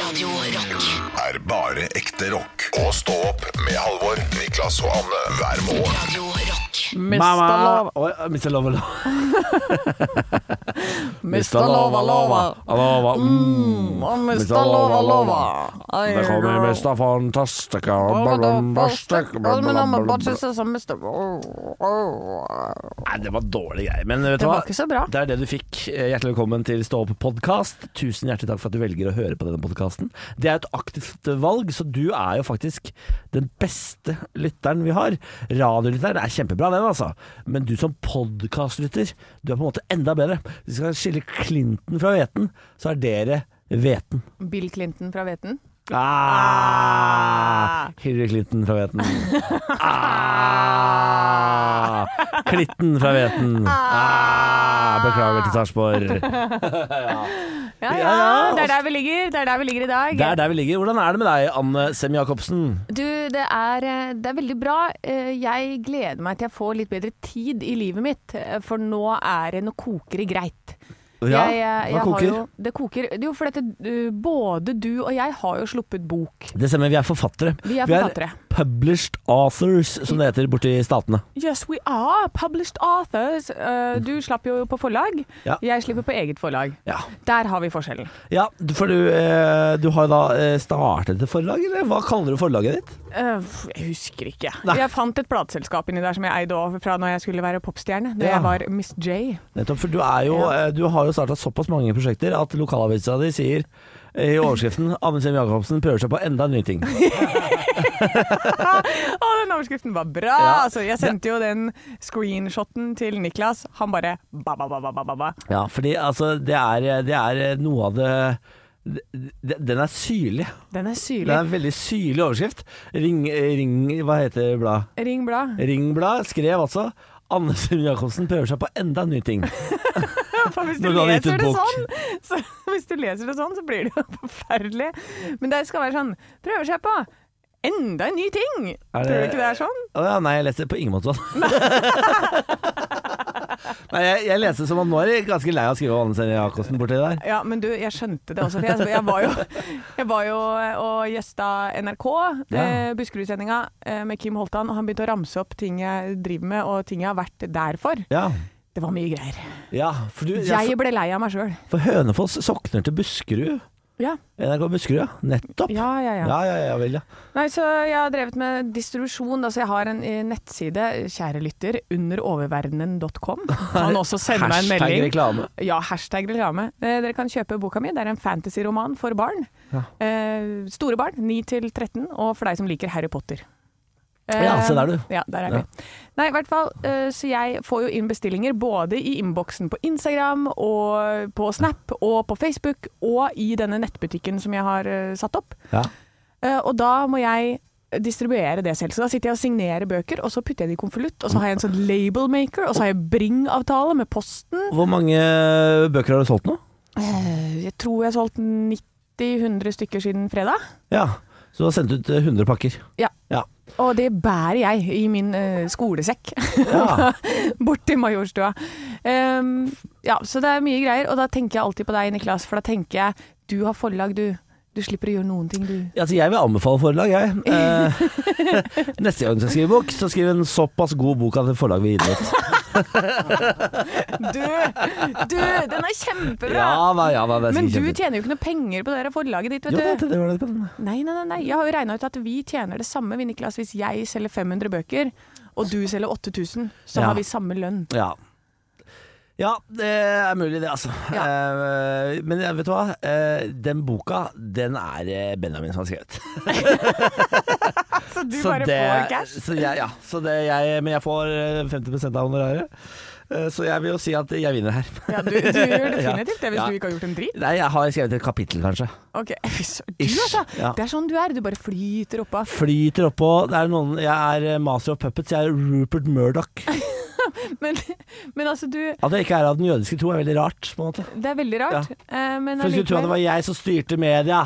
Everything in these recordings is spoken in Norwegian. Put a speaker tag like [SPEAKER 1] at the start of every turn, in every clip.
[SPEAKER 1] Radio Rock.
[SPEAKER 2] er bare ekte rock. Og stå opp med Halvor, Niklas og Anne hver morgen.
[SPEAKER 1] Radio Rock.
[SPEAKER 3] Mista lova,
[SPEAKER 4] Oi, ja, Mr. eh, Lova Lova.
[SPEAKER 3] mista lova, lova.
[SPEAKER 4] lova. Mm.
[SPEAKER 3] Og mista lova, lova. Ai,
[SPEAKER 4] Det kommer
[SPEAKER 3] girl.
[SPEAKER 4] Mr. Fantastica. Fantastic.
[SPEAKER 3] Det
[SPEAKER 4] Nei, det var dårlige greier. Men vet du hva?
[SPEAKER 3] var ikke så bra.
[SPEAKER 4] Det er det du fikk. eh, Hjertelig velkommen til Stå opp-podkast. Tusen hjertelig takk for at du velger å høre på denne podkasten. Det er et aktivt valg, så du er jo faktisk den beste lytteren vi har. Radiolytteren er kjempebra, den altså. Men du som podkastlytter, du er på en måte enda bedre. Hvis vi skal skille Clinton fra hveten, så er dere hveten.
[SPEAKER 3] Bill Clinton fra Veten.
[SPEAKER 4] Ah, Hillary Clinton fra Veten. Ah, Klitten fra Veten. Ah, beklager til Sarpsborg.
[SPEAKER 3] Ja, ja,
[SPEAKER 4] Ja, ja.
[SPEAKER 3] det er der vi ligger. Det er der vi ligger i dag.
[SPEAKER 4] Det er der vi ligger. Hvordan er det med deg, Anne Sem-Jacobsen?
[SPEAKER 3] Du, det er, eh, det er veldig bra. Eh, Jeg gleder meg til jeg får litt bedre tid i livet mitt, eh, for nå er det noe koker i greit. Jeg, eh, jeg
[SPEAKER 4] hva koker?
[SPEAKER 3] Har jo, det koker Jo, for dette, eh, både du og jeg har jo sluppet bok.
[SPEAKER 4] Det stemmer, vi er forfattere.
[SPEAKER 3] Vi er forfattere.
[SPEAKER 4] published authors, som det heter borti statene.
[SPEAKER 3] Yes, we are published authors. Eh, Du slapp jo på forlag.
[SPEAKER 4] Ja.
[SPEAKER 3] Jeg slipper på eget forlag.
[SPEAKER 4] Ja,
[SPEAKER 3] Der har vi forskjellen.
[SPEAKER 4] ja du- for du, eh, du har jo da eh, startet et forlag, eller? Hva kaller du forlaget ditt?
[SPEAKER 3] Eh, f- Jeg husker ikke.
[SPEAKER 4] Nei.
[SPEAKER 3] Jeg fant et plateselskap inni der som jeg eide også fra når jeg skulle være popstjerne. Da
[SPEAKER 4] Ja.
[SPEAKER 3] jeg var Miss J.
[SPEAKER 4] Nettopp, for du, er jo,
[SPEAKER 3] Ja.
[SPEAKER 4] eh, du har jo starta såpass mange prosjekter at lokalavisa di sier eh, i overskriften 'Anne Sem Jacobsen prøver seg på enda en ny ting'.
[SPEAKER 3] Å, den overskriften var bra!
[SPEAKER 4] Ja.
[SPEAKER 3] Altså, jeg sendte jo den screenshoten til Niklas. Han bare ba, ba, ba, ba, ba, ba, ba.
[SPEAKER 4] Ja, fordi altså, det er, det er noe av det det- Den er syrlig.
[SPEAKER 3] Den er
[SPEAKER 4] Det er
[SPEAKER 3] syrlig.
[SPEAKER 4] en veldig syrlig overskrift. Ring, ring Hva heter bladet?
[SPEAKER 3] Ring bladet.
[SPEAKER 4] Ringblad skrev altså Anne Sem Jacobsen prøver seg på enda en ny ting.
[SPEAKER 3] For hvis du
[SPEAKER 4] Når du hadde gitt
[SPEAKER 3] leser
[SPEAKER 4] ut
[SPEAKER 3] det
[SPEAKER 4] bok.
[SPEAKER 3] sånn, så, hvis du leser det sånn, så blir det jo forferdelig. Men det skal være sånn Prøver seg på enda en ny ting! Tror
[SPEAKER 4] Er det-
[SPEAKER 3] du ikke det er sånn?
[SPEAKER 4] Å ja, nei, jeg leste det på ingen måte sånn. nei, jeg, jeg leste det som at nå er de ganske lei av å skrive om Anne Sem Jacobsen borti der.
[SPEAKER 3] Ja, men du, jeg skjønte det også. For jeg, jeg, var, jo, jeg var jo og gjesta NRK,
[SPEAKER 4] Ja.
[SPEAKER 3] eh, Buskerud-sendinga, eh, med Kim Holtan, og han begynte å ramse opp ting jeg driver med, og ting jeg har vært der for.
[SPEAKER 4] Ja,
[SPEAKER 3] Det var mye greier.
[SPEAKER 4] ja for du ja,
[SPEAKER 3] Jeg ble lei av meg sjøl.
[SPEAKER 4] For Hønefoss sokner til Buskerud.
[SPEAKER 3] Ja.
[SPEAKER 4] NRK Buskerud, ja. Nettopp.
[SPEAKER 3] Ja, ja, ja.
[SPEAKER 4] ja, ja, ja vel, ja.
[SPEAKER 3] Nei, så jeg har drevet med distribusjon. Altså, jeg har en eh, nettside, kjære lytter, underoververdenen.com. Kan også sende meg en
[SPEAKER 4] Hashtag
[SPEAKER 3] melding.
[SPEAKER 4] reklame.
[SPEAKER 3] Ja, hashtag reklame. Eh, dere kan kjøpe boka mi. Det er en fantasyroman for barn.
[SPEAKER 4] Ja.
[SPEAKER 3] Eh, store barn, 9-13, og for deg som liker Harry Potter. Eh,
[SPEAKER 4] Ja, se der du.
[SPEAKER 3] Ja, der er
[SPEAKER 4] Ja.
[SPEAKER 3] vi. Nei, i hvert fall, eh, så jeg får jo inn bestillinger både i innboksen på Instagram og på Snap og på Facebook og i denne nettbutikken som jeg har eh, satt opp.
[SPEAKER 4] Ja.
[SPEAKER 3] Eh, Og da må jeg distribuere det selv. Så da sitter jeg og signerer bøker, og så putter jeg det i konvolutt, og så har jeg en sånn labelmaker, og så har jeg Bring-avtale med posten.
[SPEAKER 4] Hvor mange bøker har du solgt nå?
[SPEAKER 3] Eh, Jeg tror jeg har solgt 90-100 stykker siden fredag.
[SPEAKER 4] Ja. Så du har sendt ut eh, 100 pakker.
[SPEAKER 3] Ja.
[SPEAKER 4] Ja.
[SPEAKER 3] Og det bærer jeg i min eh, skolesekk
[SPEAKER 4] ja.
[SPEAKER 3] bort til Majorstua. Ehm, ja, så det er mye greier, og da tenker jeg alltid på deg, Niklas, for da tenker jeg du har forlag, du. Du slipper å gjøre noen ting, du.
[SPEAKER 4] Altså, jeg vil anbefale forlag, jeg. Eh, neste gang du skal skrive bok, så skriv en såpass god bok at et forlag vil gi den ut.
[SPEAKER 3] Du, du den er kjempebra!
[SPEAKER 4] Ja da, ja da. Det er
[SPEAKER 3] Men du
[SPEAKER 4] sikkert kjempefint.
[SPEAKER 3] tjener jo ikke noe penger på det der forlaget ditt,
[SPEAKER 4] Jo, det,
[SPEAKER 3] vet du.
[SPEAKER 4] det var det på den.
[SPEAKER 3] Nei, nei, nei, nei. Jeg har jo regna ut at vi tjener det samme, vi, Niklas. Hvis jeg selger 500 bøker, og du selger 8000, så
[SPEAKER 4] Ja.
[SPEAKER 3] har vi samme lønn.
[SPEAKER 4] Ja. Ja, det er mulig det, altså. Eh, men jeg- vet du hva? Eh, den boka, den er eh, Benjamin som har skrevet.
[SPEAKER 3] Så du
[SPEAKER 4] Så det- Så jeg, ja, så det jeg, men jeg får eh, 50 av honoraret. Eh, Så jeg vil jo si at jeg vinner her.
[SPEAKER 3] Ja, du, du gjør definitivt det hvis
[SPEAKER 4] Ja.
[SPEAKER 3] du ikke har gjort en drit.
[SPEAKER 4] Nei, jeg har skrevet et kapittel, kanskje.
[SPEAKER 3] Ok, fy sø- Du,
[SPEAKER 4] Ish,
[SPEAKER 3] altså.
[SPEAKER 4] ja.
[SPEAKER 3] Det er sånn du er. Du bare flyter oppå.
[SPEAKER 4] Flyter oppå det er noen, Jeg er eh, master of puppets, jeg er Rupert Murdoch.
[SPEAKER 3] Men, men altså, du
[SPEAKER 4] At jeg ikke er av den jødiske tro, er veldig rart. på en måte
[SPEAKER 3] Det er veldig rart. eh, Men
[SPEAKER 4] For du skulle tro at det var jeg som styrte media.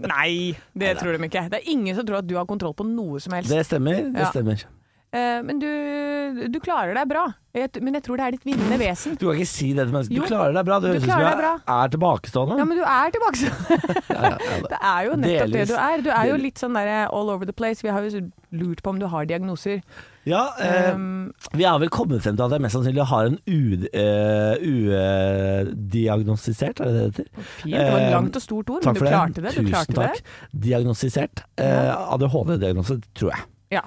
[SPEAKER 3] Nei, det tror de ikke. Det er ingen som tror at du har kontroll på noe som helst.
[SPEAKER 4] Det stemmer. det
[SPEAKER 3] Ja.
[SPEAKER 4] stemmer
[SPEAKER 3] Eh, men du, du klarer deg bra. Jeg, t- men jeg tror det er ditt vinnende vesen.
[SPEAKER 4] Du kan ikke si det til mennesker.
[SPEAKER 3] Jo,
[SPEAKER 4] Du klarer deg bra. Det
[SPEAKER 3] du
[SPEAKER 4] høres ut som
[SPEAKER 3] klarer
[SPEAKER 4] jeg
[SPEAKER 3] deg
[SPEAKER 4] er, tilbakestående.
[SPEAKER 3] Ja, men du er tilbake Det er jo nettopp
[SPEAKER 4] Delvis.
[SPEAKER 3] det du er. Du er jo
[SPEAKER 4] Delvis.
[SPEAKER 3] litt sånn der all over the place. Vi har jo lurt på om du har diagnoser.
[SPEAKER 4] Ja, eh,
[SPEAKER 3] Um,
[SPEAKER 4] vi har vel kommet frem til at jeg mest sannsynlig har en ud- eh, udiagnostisert, er det det det heter?
[SPEAKER 3] fint. Det var et
[SPEAKER 4] Eh,
[SPEAKER 3] langt og stort ord, men
[SPEAKER 4] Takk
[SPEAKER 3] du
[SPEAKER 4] for det.
[SPEAKER 3] klarte det. Du
[SPEAKER 4] Tusen
[SPEAKER 3] klarte
[SPEAKER 4] takk.
[SPEAKER 3] det.
[SPEAKER 4] Diagnostisert. Eh, ADHD-diagnose, tror jeg.
[SPEAKER 3] Ja.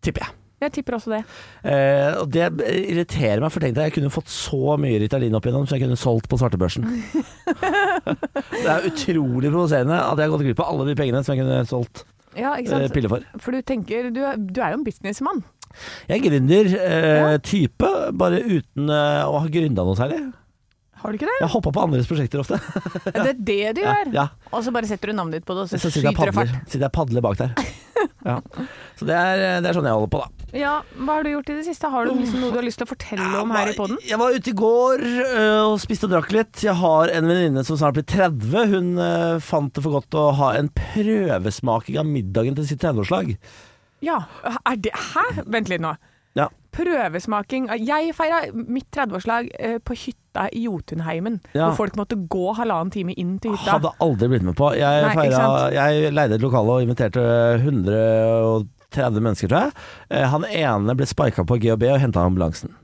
[SPEAKER 4] Tipper jeg.
[SPEAKER 3] Jeg tipper også det.
[SPEAKER 4] Eh, og det irriterer meg, for tenk deg, jeg kunne fått så mye Ritalin opp igjennom, så jeg kunne solgt på svartebørsen. det er utrolig provoserende at jeg har gått glipp av alle de pengene som jeg kunne solgt
[SPEAKER 3] Ja, ikke
[SPEAKER 4] eh,
[SPEAKER 3] sant?
[SPEAKER 4] piller for.
[SPEAKER 3] For du tenker Du er, du er jo en businessmann.
[SPEAKER 4] Jeg er gründer-type, bare uten eh, å ha gründa noe særlig.
[SPEAKER 3] Har du ikke det?
[SPEAKER 4] Jeg hoppa på andres prosjekter ofte.
[SPEAKER 3] Det er det du gjør.
[SPEAKER 4] ja.
[SPEAKER 3] Og så bare setter du navnet ditt på det, og så,
[SPEAKER 4] Så sitter jeg
[SPEAKER 3] skyter det
[SPEAKER 4] padler,
[SPEAKER 3] fart.
[SPEAKER 4] sitter jeg padler bak der. Ja. Så det er, det er sånn jeg holder på, da.
[SPEAKER 3] Ja, Hva har du gjort i det siste? Har du liksom noe du har lyst til å fortelle om her i poden?
[SPEAKER 4] Jeg var ute i går øh, og spiste og drakk litt. Jeg har en venninne som snart blir 30. Hun øh, fant det for godt å ha en prøvesmaking av middagen til sitt 30-årslag.
[SPEAKER 3] Ja, er det Hæ? Vent litt nå.
[SPEAKER 4] Ja.
[SPEAKER 3] Prøvesmaking. Jeg feira mitt 30-årslag eh, på hytta i Jotunheimen.
[SPEAKER 4] Ja.
[SPEAKER 3] Hvor folk måtte gå halvannen time inn til hytta.
[SPEAKER 4] Hadde aldri blitt med på. Jeg,
[SPEAKER 3] Nei, ikke
[SPEAKER 4] feira,
[SPEAKER 3] sant?
[SPEAKER 4] jeg leide et lokale og inviterte 130 mennesker, tror jeg. Eh, Han ene ble sparka på GHB og henta ambulansen.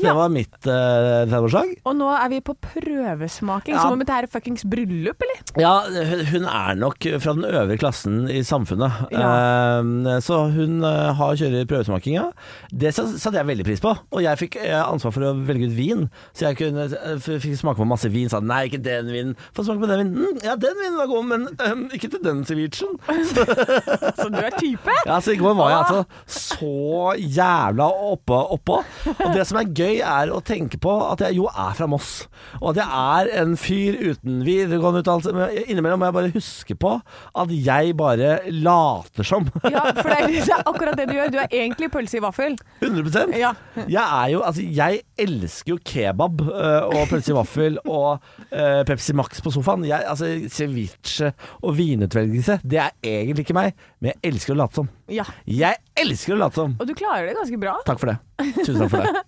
[SPEAKER 4] Så
[SPEAKER 3] Ja.
[SPEAKER 4] det var mitt øh, 30-årslag.
[SPEAKER 3] Og nå er vi på prøvesmaking.
[SPEAKER 4] Ja.
[SPEAKER 3] Som om dette her er fuckings bryllup, eller?
[SPEAKER 4] Ja, hun hun er nok fra den øvre klassen i samfunnet. Eh, Så hun eh, har kjører prøvesmakinga. Det sa- satte jeg veldig pris på. Og jeg fikk eh, ansvar for å velge ut vin, så jeg kunne, eh, f- fikk smake på masse vin. Sa nei, ikke den vinen. Få smake på den vinen. Mm, ja, den vinen var god, men eh, ikke til den cevichen.
[SPEAKER 3] Så du er type?
[SPEAKER 4] Ja, så I går var jeg altså så jævla oppe, oppå. Og det som er gøy, er å tenke på at jeg jo er fra Moss. Og at jeg er en fyr uten videregående utdannelse. Men innimellom må jeg bare huske på at jeg bare later som.
[SPEAKER 3] Ja, for det er, det er akkurat det du gjør. Du er egentlig pølse i vaffel.
[SPEAKER 4] 100
[SPEAKER 3] Ja.
[SPEAKER 4] Jeg er jo Altså, jeg elsker jo kebab eh, og pølse i vaffel og eh, Pepsi Max på sofaen. Jeg, altså, ceviche og vinutvelgelse, det er egentlig ikke meg, men jeg elsker å late som.
[SPEAKER 3] ja.
[SPEAKER 4] Jeg elsker å late som!
[SPEAKER 3] Og du klarer det ganske bra.
[SPEAKER 4] Takk for det. Tusen takk for det.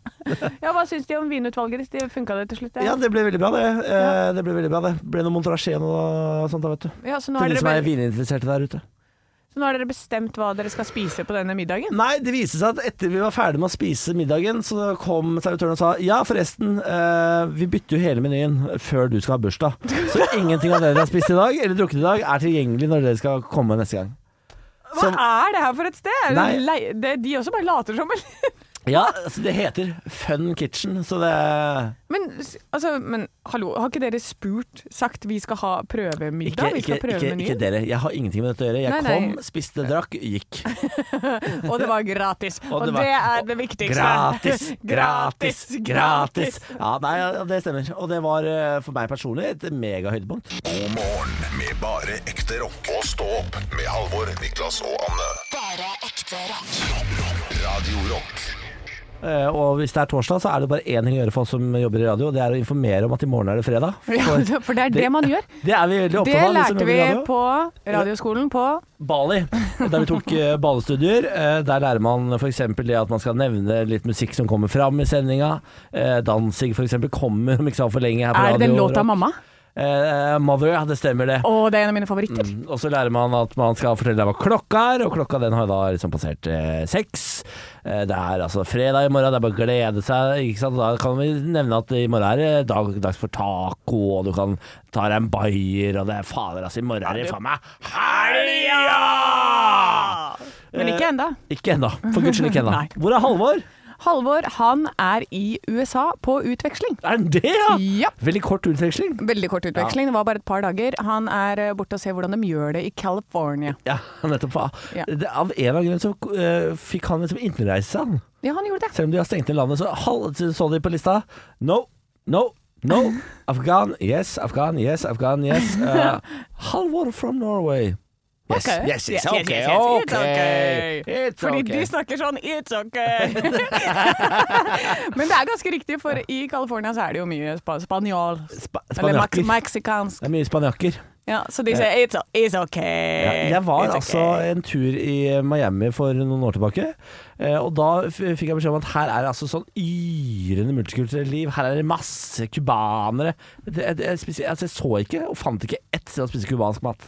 [SPEAKER 3] Ja, Hva syns de om vinutvalget ditt? Det Funka det til slutt?
[SPEAKER 4] Ja, det ble veldig bra, det. Eh, Det ble veldig bra, det. Ble noe Montrachet og noe sånt, da, vet du.
[SPEAKER 3] Ja, så, nå har
[SPEAKER 4] Til
[SPEAKER 3] dere
[SPEAKER 4] de som er
[SPEAKER 3] be-
[SPEAKER 4] vininteresserte der ute.
[SPEAKER 3] så nå har dere bestemt hva dere skal spise på denne middagen?
[SPEAKER 4] Nei, det viste seg at etter vi var ferdig med å spise middagen, så kom servitøren og sa ja, forresten, eh, vi bytter jo hele menyen før du skal ha bursdag. Så ingenting av det dere har spist i dag, eller drukket i dag, er tilgjengelig når dere skal komme neste gang.
[SPEAKER 3] Hva er det her for et sted? Er det
[SPEAKER 4] Nei.
[SPEAKER 3] lei- Det, de også bare later som, eller?
[SPEAKER 4] Ja, altså, det heter Fun Kitchen, så det
[SPEAKER 3] Men, s- altså, men hallo, har ikke dere spurt, sagt vi skal ha prøvemiddag?
[SPEAKER 4] Ikke,
[SPEAKER 3] vi skal
[SPEAKER 4] ikke,
[SPEAKER 3] prøve
[SPEAKER 4] ikke, ikke
[SPEAKER 3] menyen.
[SPEAKER 4] dere. Jeg har ingenting med dette å gjøre. Jeg
[SPEAKER 3] Nei, nei.
[SPEAKER 4] kom, spiste, drakk, gikk.
[SPEAKER 3] Og det var gratis.
[SPEAKER 4] Og
[SPEAKER 3] Og,
[SPEAKER 4] det
[SPEAKER 3] det,
[SPEAKER 4] var-
[SPEAKER 3] er det viktigste.
[SPEAKER 4] Gratis, gratis, gratis! Ja, nei, ja, det stemmer. Og det var eh, for meg personlig et megahøydepunkt.
[SPEAKER 2] God morgen med bare ekte rock. Og stå opp med Halvor, Niklas og Anne.
[SPEAKER 1] Bare ekte rock.
[SPEAKER 2] Radio Rock.
[SPEAKER 4] Eh, Og hvis det er torsdag, så er det bare én ting å gjøre for oss som jobber i radio, og det er å informere om at i morgen er det fredag. For
[SPEAKER 3] Ja, for det er det man gjør.
[SPEAKER 4] det er vi veldig
[SPEAKER 3] Det
[SPEAKER 4] opptatt av, vi som
[SPEAKER 3] lærte
[SPEAKER 4] jobber
[SPEAKER 3] vi
[SPEAKER 4] i radio.
[SPEAKER 3] på radioskolen på
[SPEAKER 4] Bali, der vi tok eh, balestudier. Eh, Der lærer man f.eks. det at man skal nevne litt musikk som kommer fram i sendinga. Eh, Dansing f.eks. kommer om ikke så altfor lenge her på
[SPEAKER 3] Er
[SPEAKER 4] radio.
[SPEAKER 3] det den låta 'Mamma'?
[SPEAKER 4] Eh, Mother, ja, det stemmer det.
[SPEAKER 3] Å, det er en av mine favoritter.
[SPEAKER 4] Mm, Og så lærer man at man skal fortelle deg hva klokka er, og klokka den har da liksom passert eh, seks. Eh, det er altså fredag i morgen, det er bare å glede seg. Ikke sant? Da kan vi nevne at i morgen er det dag, dags for taco, og du kan ta deg en bayer, og det er fader, altså, i morgen er det faen meg helga!
[SPEAKER 3] Men ikke enda.
[SPEAKER 4] Ikke ennå. For guds skyld, ikke ennå.
[SPEAKER 3] Nei.
[SPEAKER 4] Hvor er Halvor?
[SPEAKER 3] Halvor, han er i USA på utveksling.
[SPEAKER 4] Er han det, ja?
[SPEAKER 3] Ja.
[SPEAKER 4] Veldig kort utveksling.
[SPEAKER 3] Veldig kort utveksling, det var bare et par dager. Han er eh, borte og ser hvordan de gjør det i California.
[SPEAKER 4] Ja, nettopp.
[SPEAKER 3] Ja.
[SPEAKER 4] Det, av en eller annen grunn så eh, fikk han liksom innreise, han.
[SPEAKER 3] Ja, han gjorde det.
[SPEAKER 4] Selv om de har stengt ned landet, så hal- så de på lista No, no, no Afghan, yes, Afghan, yes, Afghan, yes uh, Halvor from Norway Yes,
[SPEAKER 3] Ok.
[SPEAKER 4] yes,
[SPEAKER 3] Yes,
[SPEAKER 4] it's
[SPEAKER 3] yes,
[SPEAKER 4] okay,
[SPEAKER 3] yes, yes, it's
[SPEAKER 4] okay.
[SPEAKER 3] okay.
[SPEAKER 4] It's
[SPEAKER 3] Fordi
[SPEAKER 4] okay.
[SPEAKER 3] de snakker sånn 'it's okay'. Men det er ganske riktig, for i California så er det jo mye spa spanjol.
[SPEAKER 4] Spa
[SPEAKER 3] Eller
[SPEAKER 4] spanjakker.
[SPEAKER 3] meksikansk.
[SPEAKER 4] Det er mye spanjakker
[SPEAKER 3] Ja, så de sier it's, it's ok.
[SPEAKER 4] Ja, jeg var
[SPEAKER 3] it's
[SPEAKER 4] altså
[SPEAKER 3] okay».
[SPEAKER 4] en tur i Miami for noen år tilbake, eh, og da f- fikk jeg beskjed om at her er det altså sånn yrende multikulturelt liv. Her er det masse cubanere. Det- det- Jeg, spiste- altså, jeg så ikke og fant ikke ett sted å spise cubansk mat.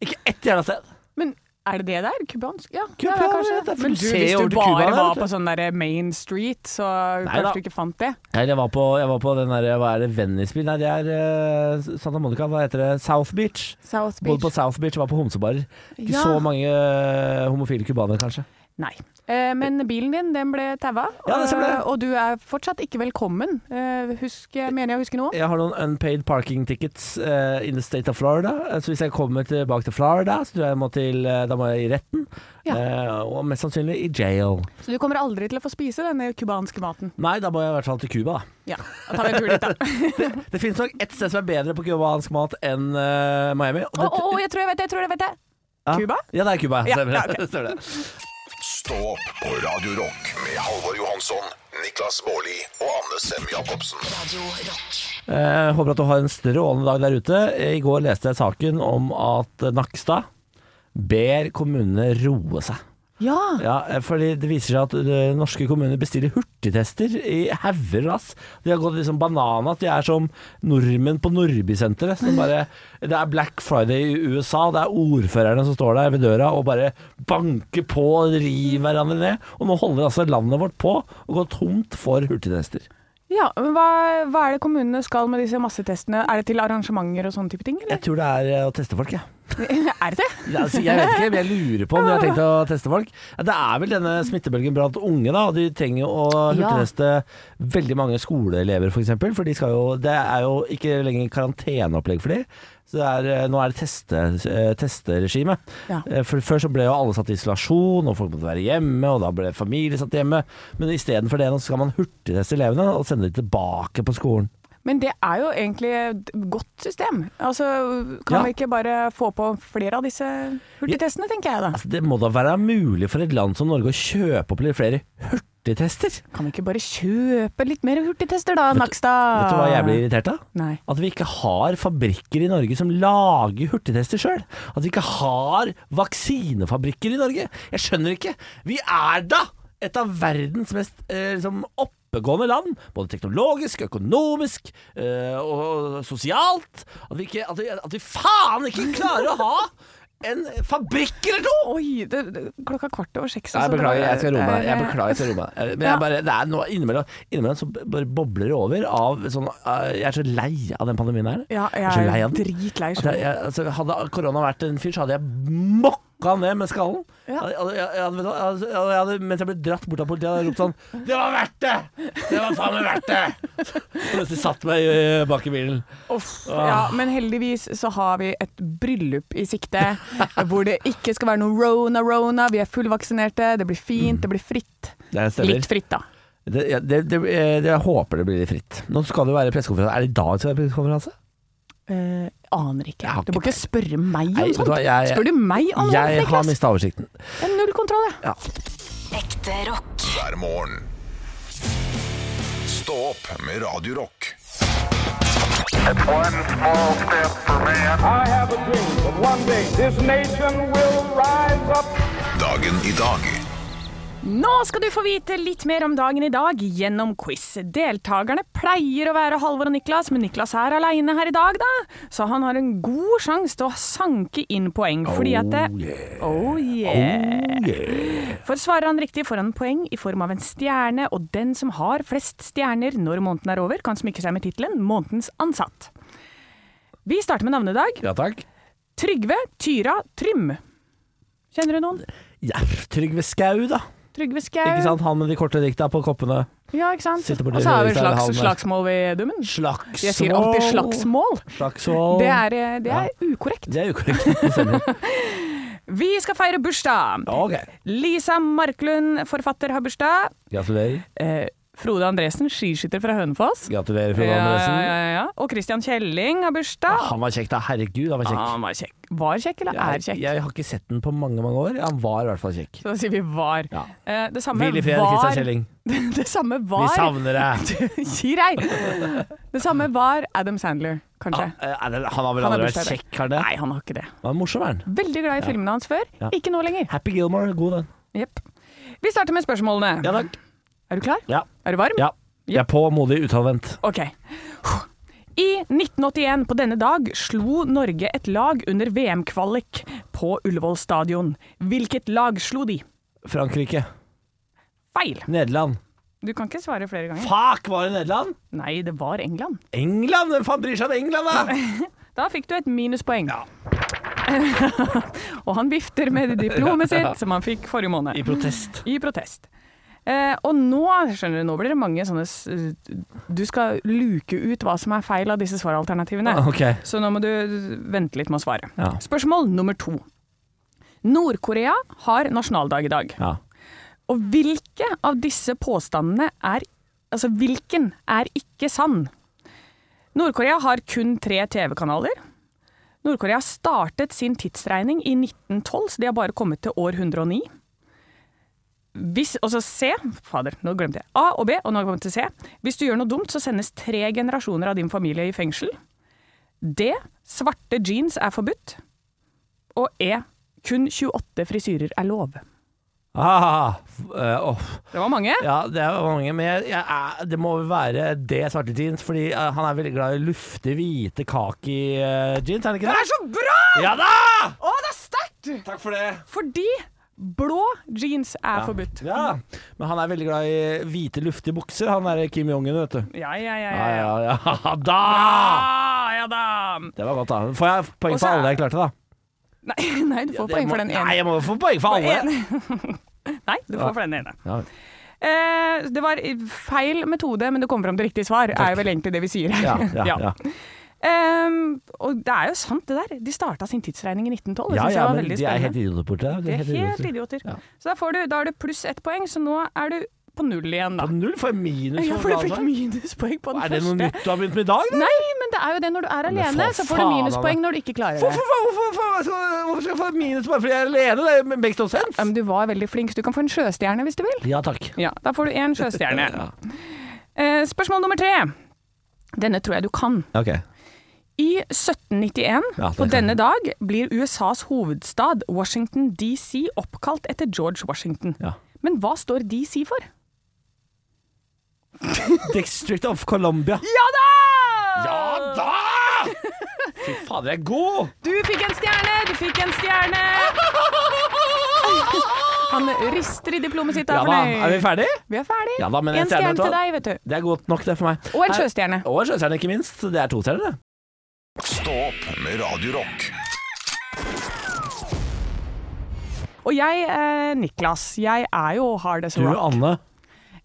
[SPEAKER 4] Ikke ett jævla sted!
[SPEAKER 3] Men er det det der? Kubansk? Ja,
[SPEAKER 4] Kuba,
[SPEAKER 3] det er
[SPEAKER 4] ja, det
[SPEAKER 3] kanskje
[SPEAKER 4] er
[SPEAKER 3] Men du,
[SPEAKER 4] se
[SPEAKER 3] hvis
[SPEAKER 4] over
[SPEAKER 3] du
[SPEAKER 4] til Kuba,
[SPEAKER 3] bare
[SPEAKER 4] da, vet
[SPEAKER 3] var
[SPEAKER 4] du.
[SPEAKER 3] på sånn der Main Street, så kanskje
[SPEAKER 4] da.
[SPEAKER 3] du ikke fant det?
[SPEAKER 4] Nei, Jeg var på, jeg var på den der, hva er det, Venice-byen? Nei, det er eh, Santa Monica, hva heter det? South Beach.
[SPEAKER 3] South
[SPEAKER 4] Både på South Beach og var på homsebarer. Ikke
[SPEAKER 3] Ja.
[SPEAKER 4] så mange eh, homofile cubanere, kanskje.
[SPEAKER 3] Nei. Eh, men bilen din den ble taua,
[SPEAKER 4] Ja, det stemmer det.
[SPEAKER 3] eh, og du er fortsatt ikke velkommen. Eh, husk, jeg mener jeg husker noe?
[SPEAKER 4] Jeg har noen unpaid parking tickets eh, in the state of Florida. Eh, Så hvis jeg kommer tilbake til Florida, så tror jeg jeg må til, eh, da må jeg i retten.
[SPEAKER 3] Ja.
[SPEAKER 4] Eh, og mest sannsynlig i jail.
[SPEAKER 3] Så du kommer aldri til å få spise denne cubanske maten.
[SPEAKER 4] Nei, da må jeg i hvert fall til Cuba, da.
[SPEAKER 3] Ja, da tar vi en tur dit, da.
[SPEAKER 4] Det finnes nok ett sted som er bedre på cubansk mat enn eh, Miami. og
[SPEAKER 3] Å,
[SPEAKER 4] det-
[SPEAKER 3] å, å, jeg tror jeg vet det! Jeg tror jeg vet det.
[SPEAKER 4] Ja.
[SPEAKER 3] Cuba?
[SPEAKER 4] Ja, det er Cuba.
[SPEAKER 3] Ja,
[SPEAKER 4] stemmer
[SPEAKER 3] ja,
[SPEAKER 4] det.
[SPEAKER 3] ok.
[SPEAKER 4] Stemmer det.
[SPEAKER 2] Stå opp på Radio Rock med Halvor Johansson, Niklas Baarli og Anne Sem Jacobsen.
[SPEAKER 1] Radio Rock.
[SPEAKER 4] Eh, håper at du har en strålende dag der ute. Eh, I går leste jeg saken om at eh, Nakstad ber kommunene roe seg.
[SPEAKER 3] Ja.
[SPEAKER 4] Ja, fordi det viser seg at eh, norske kommuner bestiller hurtigtester i hauger og lass. De har gått liksom bananas. De er som nordmenn på Nordbysenteret. som bare- Det er Black Friday i USA, og det er ordførerne som står der ved døra og bare banker på og river hverandre ned. Og nå holder altså landet vårt på å gå tomt for hurtigtester.
[SPEAKER 3] ja men hva, hva er det kommunene skal med disse massetestene? Er det til arrangementer og sånne type ting,
[SPEAKER 4] Jeg
[SPEAKER 3] eller?
[SPEAKER 4] tror det er eh, å teste folk, jeg. Ja.
[SPEAKER 3] er det det?
[SPEAKER 4] Ja, altså, jeg vet ikke, men jeg lurer på om de har tenkt å teste folk. Ja, Det er vel denne smittebølgen blant unge, da. og De trenger jo
[SPEAKER 3] Ja.
[SPEAKER 4] å hurtigteste veldig mange skoleelever, f.eks. For, eksempel, for de skal jo, det er jo ikke lenger karanteneopplegg for de. Så det er, eh, nå er det teste, eh, testeregime.
[SPEAKER 3] Ja.
[SPEAKER 4] Eh, For før så ble jo alle satt i isolasjon, og folk måtte være hjemme, og da ble familie satt hjemme. Men istedenfor det nå skal man hurtigteste elevene og sende dem tilbake på skolen.
[SPEAKER 3] Men det er jo egentlig et godt system. Altså, kan
[SPEAKER 4] Ja.
[SPEAKER 3] vi ikke bare få på flere av disse hurtigtestene, tenker jeg da.
[SPEAKER 4] Altså, det må da være mulig for et land som Norge å kjøpe opp litt flere hurtigtester?
[SPEAKER 3] Kan vi ikke bare kjøpe litt mer hurtigtester da, Nakstad?
[SPEAKER 4] Vet du hva jeg
[SPEAKER 3] Eh.
[SPEAKER 4] blir irritert av?
[SPEAKER 3] Nei.
[SPEAKER 4] At vi ikke har fabrikker i Norge som lager hurtigtester sjøl. At vi ikke har vaksinefabrikker i Norge. Jeg skjønner ikke. Vi er da et av verdens mest eh, liksom oppegående land, både teknologisk, økonomisk eh, og sosialt. At vi, ikke, at, vi, at vi faen ikke klarer å ha en fabrikk eller noe!
[SPEAKER 3] Oi, det, det, klokka er kvart over seks.
[SPEAKER 4] Nei,
[SPEAKER 3] så
[SPEAKER 4] jeg
[SPEAKER 3] Sånn, det var-
[SPEAKER 4] beklager, jeg skal roe meg. Jeg
[SPEAKER 3] det-
[SPEAKER 4] beklager, jeg skal roe meg. Eh, Men
[SPEAKER 3] Ja.
[SPEAKER 4] jeg bare, det er noe innimellom, innimellom så bare bobler det over av sånn eh, Jeg er så lei av den pandemien her.
[SPEAKER 3] Ja,
[SPEAKER 4] så
[SPEAKER 3] jeg
[SPEAKER 4] lei
[SPEAKER 3] er
[SPEAKER 4] av den.
[SPEAKER 3] dritlei
[SPEAKER 4] At jeg,
[SPEAKER 3] selv.
[SPEAKER 4] jeg, altså, hadde korona vært en fyr, så hadde jeg mokka han ned med skallen.
[SPEAKER 3] Ja.
[SPEAKER 4] Jeg, hadde- jeg, jeg, hadde- vet du hva, jeg, hadde- jeg hadde, mens jeg ble dratt bort av politiet, hadde jeg ropt sånn Det var verdt det! Det var faen meg verdt det! Og mens de satt meg eh, bak i bilen.
[SPEAKER 3] Uff.
[SPEAKER 4] Ah.
[SPEAKER 3] Ja, men heldigvis så har vi et bryllup i sikte, hvor det ikke skal være noe rona, rona. Vi er fullvaksinerte, det blir
[SPEAKER 4] Mm.
[SPEAKER 3] fint, det blir fritt.
[SPEAKER 4] Det
[SPEAKER 3] Litt fritt da.
[SPEAKER 4] Det, ja, det, det, eh, det, jeg håper det blir litt fritt. Nå skal det jo være pressekonferanse. Er det i dag det skal være pressekonferanse?
[SPEAKER 3] Eh, aner ikke.
[SPEAKER 4] Jeg har
[SPEAKER 3] Du må ikke spørre meg
[SPEAKER 4] Nei,
[SPEAKER 3] om
[SPEAKER 4] vet du
[SPEAKER 3] sånt.
[SPEAKER 4] hva, jeg-
[SPEAKER 3] Spør du meg om sånt,
[SPEAKER 4] Jeg har
[SPEAKER 3] Niklas?
[SPEAKER 4] mista oversikten.
[SPEAKER 3] Jeg har null kontroll, jeg.
[SPEAKER 4] Ja.
[SPEAKER 1] Ekte rock.
[SPEAKER 2] hver morgen. Stå opp med Radio Rock.
[SPEAKER 5] One small step for man.
[SPEAKER 6] I have a dream that one day this nation will rise up.
[SPEAKER 2] Dagen i dag.
[SPEAKER 3] Nå skal du få vite litt mer om dagen i dag gjennom quiz. Deltakerne pleier å være Halvor og Niklas, men Niklas er aleine her i dag, da. Så han har en god sjanse til å sanke inn poeng, fordi at det Oh yeah. For svarer han riktig, får han poeng i form av en stjerne, og den som har flest stjerner når måneden er over, kan smykke seg med tittelen 'Månedens ansatt'. Vi starter med navnedag.
[SPEAKER 4] Ja takk.
[SPEAKER 3] Trygve Tyra Trym. Kjenner du noen?
[SPEAKER 4] Ja, Trygve Skau, da.
[SPEAKER 3] Trygve Skau.
[SPEAKER 4] Ikke sant? Han med de korte dikta på koppene.
[SPEAKER 3] Ja, ikke sant?
[SPEAKER 4] Sitter borti
[SPEAKER 3] Og så har vi
[SPEAKER 4] Rødhus der ved
[SPEAKER 3] slags,
[SPEAKER 4] havna.
[SPEAKER 3] slagsmål ved dummen.
[SPEAKER 4] Slagsmål.
[SPEAKER 3] Jeg sier alltid slagsmål.
[SPEAKER 4] Slagsmål.
[SPEAKER 3] Det er, eh, det er ukorrekt.
[SPEAKER 4] Det er ukorrekt. Det stemmer.
[SPEAKER 3] Vi skal feire bursdag.
[SPEAKER 4] Ok.
[SPEAKER 3] Lisa Marklund, forfatter, har bursdag.
[SPEAKER 4] Gratulerer.
[SPEAKER 3] Eh, Frode Andresen, skiskytter fra Hønefoss.
[SPEAKER 4] Gratulerer, Frode
[SPEAKER 3] Ja,
[SPEAKER 4] Andresen.
[SPEAKER 3] ja, ja, ja. Og Christian Kjelling har bursdag.
[SPEAKER 4] Han var kjekk, da. Herregud, han var
[SPEAKER 3] Ah,
[SPEAKER 4] kjekk.
[SPEAKER 3] han var kjekk. Var kjekk, eller er
[SPEAKER 4] Jeg,
[SPEAKER 3] kjekk?
[SPEAKER 4] jeg har ikke sett den på mange mange år. Han var i hvert fall
[SPEAKER 3] Så
[SPEAKER 4] kjekk.
[SPEAKER 3] da sier vi var.
[SPEAKER 4] Ja.
[SPEAKER 3] Eh, det samme
[SPEAKER 4] Hvil i fred,
[SPEAKER 3] var
[SPEAKER 4] Kristian Kjelling.
[SPEAKER 3] Det samme var
[SPEAKER 4] Vi savner deg.
[SPEAKER 3] Gi deg! Det samme var Adam Sandler, kanskje.
[SPEAKER 4] Han, eh, er det- han har vel
[SPEAKER 3] Han har
[SPEAKER 4] aldri
[SPEAKER 3] bursdag
[SPEAKER 4] vært
[SPEAKER 3] i dag.
[SPEAKER 4] kjekk, har han det?
[SPEAKER 3] Nei, han har ikke det.
[SPEAKER 4] Han er morsom, er han.
[SPEAKER 3] Veldig glad i filmene hans før.
[SPEAKER 4] Ja.
[SPEAKER 3] Ikke nå lenger.
[SPEAKER 4] Happy Gilmore, god den.
[SPEAKER 3] Jepp. Vi starter med spørsmålene.
[SPEAKER 4] Ja takk.
[SPEAKER 3] Er du klar?
[SPEAKER 4] Ja.
[SPEAKER 3] Er du varm?
[SPEAKER 4] ja. Jeg er på, modig, utadvendt.
[SPEAKER 3] Ok. I 1981 på denne dag slo Norge et lag under VM-kvalik på Ullevål stadion. Hvilket lag slo de?
[SPEAKER 4] Frankrike.
[SPEAKER 3] Feil.
[SPEAKER 4] Nederland.
[SPEAKER 3] Du kan ikke svare flere ganger.
[SPEAKER 4] Fuck, var det Nederland?
[SPEAKER 3] Nei, det var England.
[SPEAKER 4] England! Hvem faen bryr seg om England, da?
[SPEAKER 3] Da fikk du et minuspoeng. og han vifter med diplomet sitt, som han fikk forrige måned.
[SPEAKER 4] I protest.
[SPEAKER 3] I protest. Eh, og nå skjønner du, nå blir det mange sånne s- eh, Du skal luke ut hva som er feil av disse svaralternativene.
[SPEAKER 4] Ah, Ok.
[SPEAKER 3] Så nå må du vente litt med å svare.
[SPEAKER 4] Ja.
[SPEAKER 3] Spørsmål nummer to. Nord-Korea har nasjonaldag i dag.
[SPEAKER 4] Ja.
[SPEAKER 3] Og hvilke av disse påstandene er Altså, hvilken er ikke sann? Nord-Korea har kun tre TV-kanaler. Nord-Korea startet sin tidsregning i 1912, så de har bare kommet til år 109. Hvis, og så C Fader, nå glemte jeg. A og B, og nå har jeg kommet til C. Hvis du gjør noe dumt, så sendes tre generasjoner av din familie i fengsel. D. Svarte jeans er forbudt. Og E. Kun 28 frisyrer er lov.
[SPEAKER 4] Ah, f- eh, åh.
[SPEAKER 3] Det var mange.
[SPEAKER 4] Ja, det er mange, men jeg, jeg, er- det må vel være det svarte jeans, fordi eh, han er veldig glad i luftig, hvite kaki-jeans, er han ikke det?
[SPEAKER 3] så bra!
[SPEAKER 4] Ja da!
[SPEAKER 3] Å, det er sterkt!
[SPEAKER 4] Takk for det.
[SPEAKER 3] Fordi blå jeans er forbudt.
[SPEAKER 4] Ja, men han er veldig glad i hvite, luftige bukser, han er Kim Jong-un, vet du.
[SPEAKER 3] Ja, ja, ja.
[SPEAKER 4] Ja,
[SPEAKER 3] ja, ja.
[SPEAKER 4] ja, ja, da!
[SPEAKER 3] Ah, ja da!
[SPEAKER 4] Det var godt, da. Får jeg poeng
[SPEAKER 3] Og så
[SPEAKER 4] for
[SPEAKER 3] er-
[SPEAKER 4] alle jeg klarte, da?
[SPEAKER 3] Nei, nei du får
[SPEAKER 4] Det
[SPEAKER 3] poeng
[SPEAKER 4] må-
[SPEAKER 3] for den
[SPEAKER 4] Nei,
[SPEAKER 3] ene.
[SPEAKER 4] jeg må jo få poeng for alle.
[SPEAKER 3] Nei, du får for den ene.
[SPEAKER 4] Ja.
[SPEAKER 3] Eh, det var feil metode, men du kom fram til riktig svar, er jo vel egentlig det vi sier her.
[SPEAKER 4] Ja, ja, ja. ja.
[SPEAKER 3] Ehm, og det er jo sant, det der. De starta sin tidsregning i 1912. Det
[SPEAKER 4] ja,
[SPEAKER 3] synes jeg var
[SPEAKER 4] men
[SPEAKER 3] veldig
[SPEAKER 4] de er
[SPEAKER 3] spennende.
[SPEAKER 4] helt idioter borti der.
[SPEAKER 3] De er helt
[SPEAKER 4] idioter.
[SPEAKER 3] idioter.
[SPEAKER 4] Ja.
[SPEAKER 3] Så da, får du, da er det pluss ett poeng, så nå er du på null igjen, da.
[SPEAKER 4] På Null for minus.
[SPEAKER 3] Ja,
[SPEAKER 4] for
[SPEAKER 3] for du
[SPEAKER 4] faen,
[SPEAKER 3] fikk
[SPEAKER 4] da.
[SPEAKER 3] minuspoeng på den
[SPEAKER 4] Er det noe
[SPEAKER 3] første.
[SPEAKER 4] nytt du har begynt med i dag, da?
[SPEAKER 3] Nei, men det er jo det når du er
[SPEAKER 4] for
[SPEAKER 3] alene, så får du
[SPEAKER 4] faen,
[SPEAKER 3] minuspoeng
[SPEAKER 4] Anna.
[SPEAKER 3] når du ikke klarer
[SPEAKER 4] Hvorfor,
[SPEAKER 3] det.
[SPEAKER 4] hvorfor, hvorfor, hvorfor- hvorfor skal jeg få minus bare fordi jeg er alene? Det makes no sense.
[SPEAKER 3] Ja, men du var veldig flink, så du kan få en sjøstjerne hvis du vil.
[SPEAKER 4] Ja takk.
[SPEAKER 3] Ja, da får du én sjøstjerne. Eh, Spørsmål nummer tre. Denne tror jeg du kan.
[SPEAKER 4] Ok.
[SPEAKER 3] I 1791,
[SPEAKER 4] Ja, det
[SPEAKER 3] på
[SPEAKER 4] kan
[SPEAKER 3] denne dag, blir USAs hovedstad Washington DC oppkalt etter George Washington.
[SPEAKER 4] Ja.
[SPEAKER 3] Men hva står DC for?
[SPEAKER 4] District of Colombia.
[SPEAKER 3] Ja da!
[SPEAKER 4] da! Fy fader, jeg er god!
[SPEAKER 3] Du fikk en stjerne, du fikk en stjerne! Han rister i diplomet sitt.
[SPEAKER 4] Ja
[SPEAKER 3] Er
[SPEAKER 4] da,
[SPEAKER 3] fornøyd.
[SPEAKER 4] er vi ferdige?
[SPEAKER 3] Vi er ferdig.
[SPEAKER 4] Ja da, men en
[SPEAKER 3] en stjerne
[SPEAKER 4] stjerne
[SPEAKER 3] til
[SPEAKER 4] til-
[SPEAKER 3] deg, vet du.
[SPEAKER 4] Det er godt nok, det, for meg.
[SPEAKER 3] Og en
[SPEAKER 4] Her-
[SPEAKER 3] sjøstjerne.
[SPEAKER 4] Og en sjøstjerne, ikke minst. Så Det er to stjerner, det.
[SPEAKER 2] Stå opp med Radio Rock.
[SPEAKER 3] Og jeg, eh, Niklas, jeg er jo hard as a rock.
[SPEAKER 4] Anne.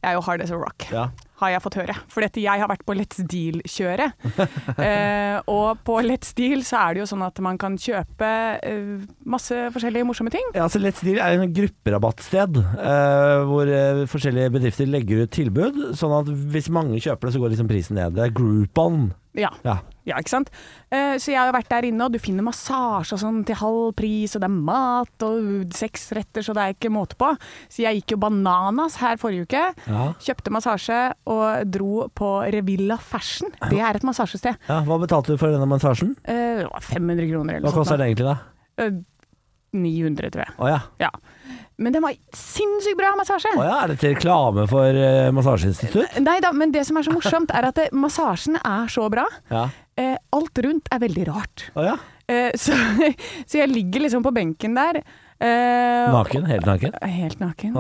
[SPEAKER 3] Jeg er jo hard as a rock.
[SPEAKER 4] Ja.
[SPEAKER 3] Har jeg fått høre. For dette, jeg har vært på Let's Deal-kjøret. eh, og på Let's Deal så er det jo sånn at man kan kjøpe eh, masse forskjellige morsomme ting.
[SPEAKER 4] Ja, altså Let's Deal er en grupperabattsted eh, hvor eh, forskjellige bedrifter legger ut tilbud, sånn at hvis mange kjøper det, så går liksom prisen ned. Det er Groupon.
[SPEAKER 3] Ja.
[SPEAKER 4] Ja.
[SPEAKER 3] Ja, ikke sant? Eh, Så jeg har vært der inne, og du finner massasje og sånn til halv pris, og det er mat og seks retter, så det er ikke måte på. Så jeg gikk jo bananas her forrige uke.
[SPEAKER 4] Ja.
[SPEAKER 3] Kjøpte massasje og dro på Revilla Fashion. Det er et massasjested.
[SPEAKER 4] ja. Hva betalte du for denne massasjen?
[SPEAKER 3] Eh, Det var 500 kroner eller
[SPEAKER 4] Hva koster
[SPEAKER 3] sånt.
[SPEAKER 4] det egentlig, da?
[SPEAKER 3] Hva koster det? 900, tror jeg.
[SPEAKER 4] Å ja.
[SPEAKER 3] Ja. Men den var sinnssykt bra massasje.
[SPEAKER 4] Å ja, er dette reklame for eh, massasjeinstitutt?
[SPEAKER 3] Nei da, men det som er så morsomt, er at eh, massasjen er så bra.
[SPEAKER 4] Ja.
[SPEAKER 3] Eh, Alt rundt er veldig rart.
[SPEAKER 4] Å ja.
[SPEAKER 3] Eh, så, så jeg ligger liksom på benken der. eh,
[SPEAKER 4] Naken? Helt naken?
[SPEAKER 3] Helt naken.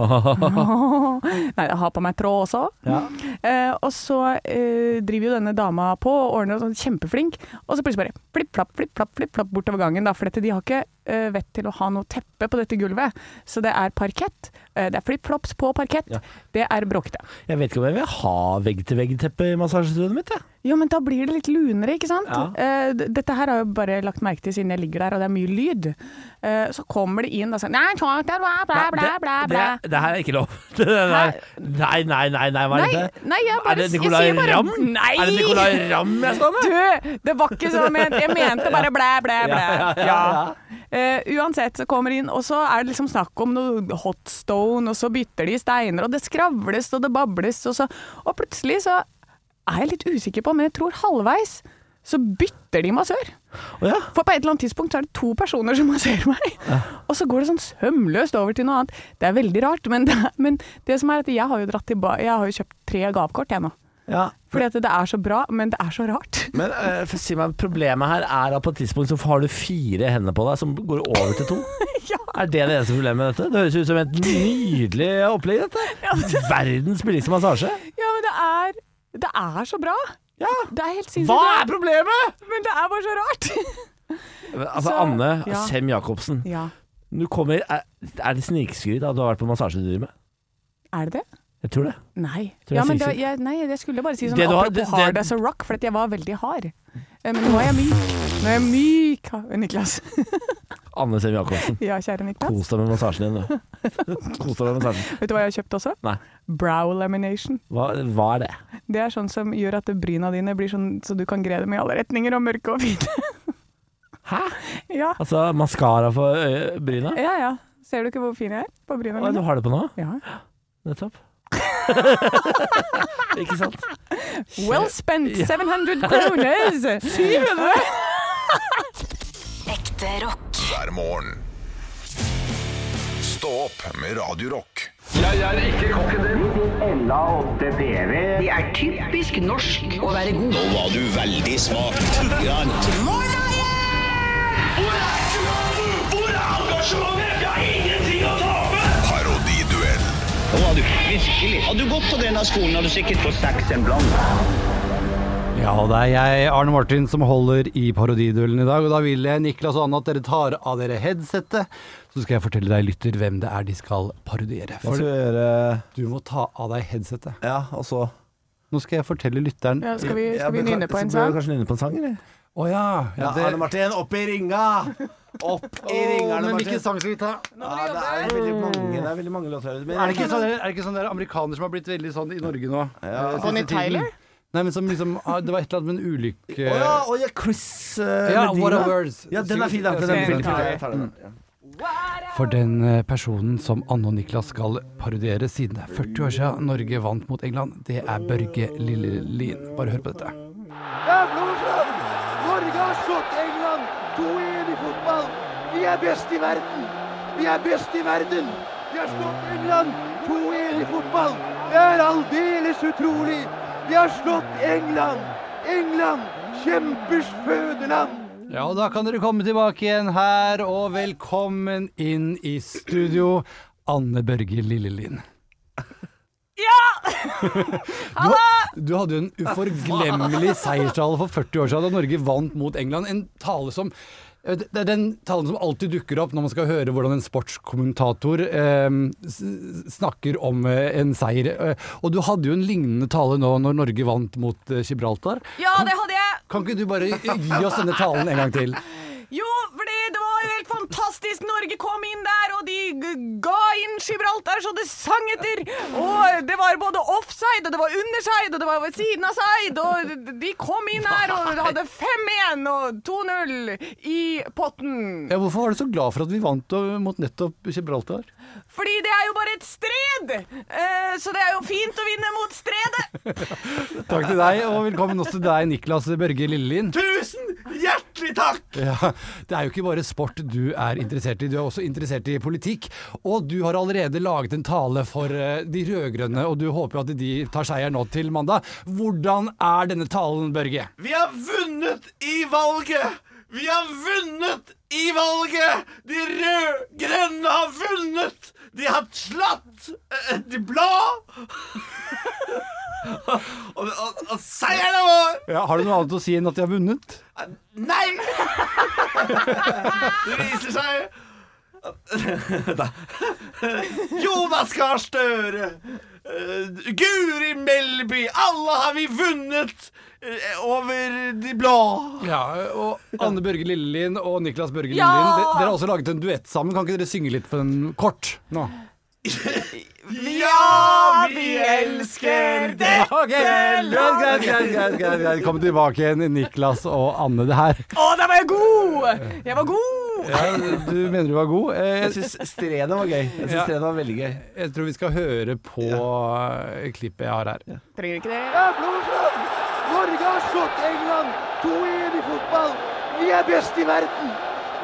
[SPEAKER 3] Nei, jeg har på meg tråd også.
[SPEAKER 4] Ja.
[SPEAKER 3] Eh, og så eh, driver jo denne dama på og ordner og sånn kjempeflink, og så plutselig bare flipp-flapp, flipp-flapp, flipp-flapp bortover gangen, da, for dette, de har ikke eh, vett til å ha noe teppe på dette gulvet. Så det er parkett. eh, det er flipflops på parkett.
[SPEAKER 4] Ja.
[SPEAKER 3] Det er bråkete.
[SPEAKER 4] Jeg vet ikke om jeg vil ha vegg-til-vegg-teppe i massasjestudioet mitt. Jeg.
[SPEAKER 3] Jo, men da blir det litt lunere, ikke sant?
[SPEAKER 4] Ja.
[SPEAKER 3] Eh, d- dette her har jeg bare lagt merke til siden jeg ligger der, og det er mye lyd. Eh, så kommer de inn og sier Nei, tja, det er bla, bla,
[SPEAKER 4] Nei,
[SPEAKER 3] bla, bla,
[SPEAKER 4] det,
[SPEAKER 3] bla.
[SPEAKER 4] det, det her er ikke lov. Det der,
[SPEAKER 3] Hæ?
[SPEAKER 4] nei, nei, nei, nei, hva er
[SPEAKER 3] Nei,
[SPEAKER 4] dette?
[SPEAKER 3] nei, jeg bare-
[SPEAKER 4] Er det Nicolai
[SPEAKER 3] jeg sier bare-
[SPEAKER 4] Ramm?
[SPEAKER 3] Nei!
[SPEAKER 4] Er det Nicolai Ramm jeg står med?
[SPEAKER 3] Du, det var ikke sånn ment. Jeg mente bare blæ, blæ, blæ.
[SPEAKER 4] Ja, ja, ja, ja.
[SPEAKER 3] Eh, uansett, så kommer de inn, og så er det liksom snakk om noe hotstone, og så bytter de steiner, og det skravles, og det bables, og så Og plutselig så er jeg litt usikker på, men jeg tror halvveis så bytter de massør.
[SPEAKER 4] Å ja.
[SPEAKER 3] For på et eller annet tidspunkt så er det to personer som masserer meg. Og så går det sånn sømløst over til noe annet. Det er veldig rart, men det, men det som er at jeg har jo dratt tilbake Jeg har jo kjøpt tre gavekort, jeg nå.
[SPEAKER 4] ja.
[SPEAKER 3] Fordi at det er så bra, men det er så rart.
[SPEAKER 4] Men eh, for, å si meg, problemet her er at på et tidspunkt så har du fire hender på deg som går over til to.
[SPEAKER 3] Ja.
[SPEAKER 4] Er det det eneste problemet med dette? Det høres ut som et nydelig opplegg, dette. Verdens billigste massasje.
[SPEAKER 3] Ja, men det er, det er så bra.
[SPEAKER 4] Ja.
[SPEAKER 3] Det er helt sinnssykt
[SPEAKER 4] Hva
[SPEAKER 3] bra.
[SPEAKER 4] er problemet?
[SPEAKER 3] Men det er bare så rart.
[SPEAKER 4] Altså,
[SPEAKER 3] Så-
[SPEAKER 4] Anne
[SPEAKER 3] Ja.
[SPEAKER 4] Sem-Jacobsen.
[SPEAKER 3] Ja,
[SPEAKER 4] Du kommer Er, er det snikskryt at du har vært på massasjedrive?
[SPEAKER 3] er det det?
[SPEAKER 4] Jeg tror det.
[SPEAKER 3] Nei.
[SPEAKER 4] Tror jeg
[SPEAKER 3] Ja, men
[SPEAKER 4] sier
[SPEAKER 3] det, jeg, nei, jeg skulle bare si sånn
[SPEAKER 4] Det du har-
[SPEAKER 3] apropos
[SPEAKER 4] det- det-
[SPEAKER 3] hard as a rock, for at jeg var veldig hard. Eh, Men nå er jeg myk. Nå er jeg myk, Niklas.
[SPEAKER 4] Anne Sem-Jacobsen.
[SPEAKER 3] Ja, kjære Niklas.
[SPEAKER 4] Kos deg med massasjen din, du. Kos deg med massasjen.
[SPEAKER 3] Vet du hva jeg har kjøpt også?
[SPEAKER 4] Nei,
[SPEAKER 3] Brow lamination.
[SPEAKER 4] hva, hva er det?
[SPEAKER 3] Det er sånn som gjør at bryna dine blir sånn så du kan gre dem i alle retninger, og mørke og hvite.
[SPEAKER 4] Hæ?
[SPEAKER 3] Ja,
[SPEAKER 4] Altså maskara for øye- bryna?
[SPEAKER 3] ja. ja. Ser du ikke hvor fin jeg er på bryna
[SPEAKER 4] Hva er
[SPEAKER 3] mine?
[SPEAKER 4] det du har det på nå?
[SPEAKER 3] Ja.
[SPEAKER 4] Nettopp. Ikke sant?
[SPEAKER 3] Well spent 700 kroner! 700!
[SPEAKER 1] Ekte rock.
[SPEAKER 2] hver morgen. Stå opp med Radio Rock.
[SPEAKER 7] Det er typisk norsk å være god.
[SPEAKER 8] var du veldig smak.
[SPEAKER 9] Hvor er engasjementet? Vi har ingenting å tape!
[SPEAKER 2] Parodiduell
[SPEAKER 8] Nå var du virkelig. Hadde du gått på denne skolen, hadde du sikkert fått seks en blant.
[SPEAKER 10] Ja, og det er jeg, Arne Martin, som holder i parodiduellen i dag. Og da vil jeg, Niklas og Anne, at dere tar av dere headsettet. Så skal jeg fortelle deg, lytter, hvem det er de skal parodiere. For
[SPEAKER 4] gjøre
[SPEAKER 10] du må ta av deg headsettet.
[SPEAKER 4] Ja, og så
[SPEAKER 10] Nå skal jeg fortelle lytteren Å
[SPEAKER 3] Ja, skal vi, skal vi nynne på en sang?
[SPEAKER 4] Kanskje nynne på en sang, eller?
[SPEAKER 10] ja.
[SPEAKER 4] Ja,
[SPEAKER 10] det-
[SPEAKER 4] Arne Martin, opp i ringa! Opp i ringa,
[SPEAKER 10] Å,
[SPEAKER 4] Arne
[SPEAKER 10] men
[SPEAKER 4] Martin.
[SPEAKER 10] hvilken sang skal vi ta?
[SPEAKER 4] Ja, det er veldig mange, det er veldig mange låter. her. Men-
[SPEAKER 10] Er det ikke sånn, der- er det ikke sånn der amerikaner som har blitt veldig sånn i Norge nå? eh, siste
[SPEAKER 3] Bonnie
[SPEAKER 10] tiden?
[SPEAKER 3] Tyler?
[SPEAKER 10] Nei, men som liksom ah, Det var et eller annet med en ulykke
[SPEAKER 4] Å ja, å ja, Chris eh,
[SPEAKER 10] Ja,
[SPEAKER 4] Medina.
[SPEAKER 10] What a Words.
[SPEAKER 4] Ja, den er fin. Mm. Den, den,
[SPEAKER 10] Skal
[SPEAKER 4] den,
[SPEAKER 10] jeg
[SPEAKER 4] den, den,
[SPEAKER 3] ta det?
[SPEAKER 4] Jeg tar den. Ja.
[SPEAKER 10] For den eh, personen som Anne og Niklas skal parodiere siden det er 40 år siden Norge vant mot England, det er Børge Lillelien. Bare hør på dette.
[SPEAKER 11] Norge har slått England 2-1 i fotball. Vi er best i verden. Vi er best i verden. Vi har slått England 2-1 i fotball. Det er aldeles utrolig. Vi har slått England. England, kjempers fødeland.
[SPEAKER 10] Ja, og da kan dere komme tilbake igjen her, og velkommen inn i studio, Anne Børge Lillelien. Ja! Du, du hadde jo en uforglemmelig seierstale for 40 år siden da Norge vant mot England. En tale som eh, det er den talen som alltid dukker opp når man skal høre hvordan en sportskommentator eh, s- snakker om eh, en seier. Eh, Og du hadde jo en lignende tale nå når Norge vant mot eh, Gibraltar.
[SPEAKER 3] Ja, det hadde jeg!
[SPEAKER 10] Kan ikke du bare gi oss denne talen en gang til?
[SPEAKER 3] Jo, fordi det var jo helt fantastisk. Norge kom inn der, og de g- ga inn Gibraltar så det sang etter. Og det var både offside, og det var underside, og det var ved siden av side. Og de kom inn her og hadde 5-1 og 2-0 i potten.
[SPEAKER 10] Ja, hvorfor var du så glad for at vi vant eh, mot nettopp Gibraltar?
[SPEAKER 3] Fordi det er jo bare et stred! Eh, Så det er jo fint å vinne mot stredet.
[SPEAKER 10] Takk til deg, og velkommen også til deg, Niklas Børge Lillelien.
[SPEAKER 4] Tusen hjertelig takk!
[SPEAKER 10] Ja, det er jo ikke bare sport du er interessert i, du er også interessert i politikk. Og du har allerede laget en tale for eh, de rød-grønne, og du håper jo at de tar seier nå til mandag. Hvordan er denne talen, Børge?
[SPEAKER 4] Vi har vunnet i valget! Vi har vunnet i valget! De rød-grønne har vunnet! De har slatt eh, de blå! og, og, og seieren er vår!
[SPEAKER 10] Ja, har du noe annet å si enn at de har vunnet?
[SPEAKER 4] Nei! Det viser seg Da. Jonas Gahr Støre, eh, Guri Melby, alle har vi vunnet eh, over de blå.
[SPEAKER 10] Ja, og Anne Børge Lillelien og Niklas Børge
[SPEAKER 3] Ja!
[SPEAKER 10] Lillelien, de- dere har også laget en duett sammen. Kan ikke dere synge litt for den kort nå?
[SPEAKER 4] Ja, vi elsker det!
[SPEAKER 10] Ok, greit, greit, greit, greit, greit, greit. Kom tilbake igjen, Niklas og Anne. Det her.
[SPEAKER 3] Å, der var jeg god! Jeg var god!
[SPEAKER 10] Du mener du var god? Eh,
[SPEAKER 4] Jeg syns stredet var gøy. Jeg synes
[SPEAKER 10] Ja.
[SPEAKER 4] stredet var veldig gøy.
[SPEAKER 10] Jeg tror vi skal høre på eh, klippet jeg har her.
[SPEAKER 3] Trenger ikke det.
[SPEAKER 11] Det er blodsrann! Norge har slått England 2-1 i fotball. Vi er best i verden!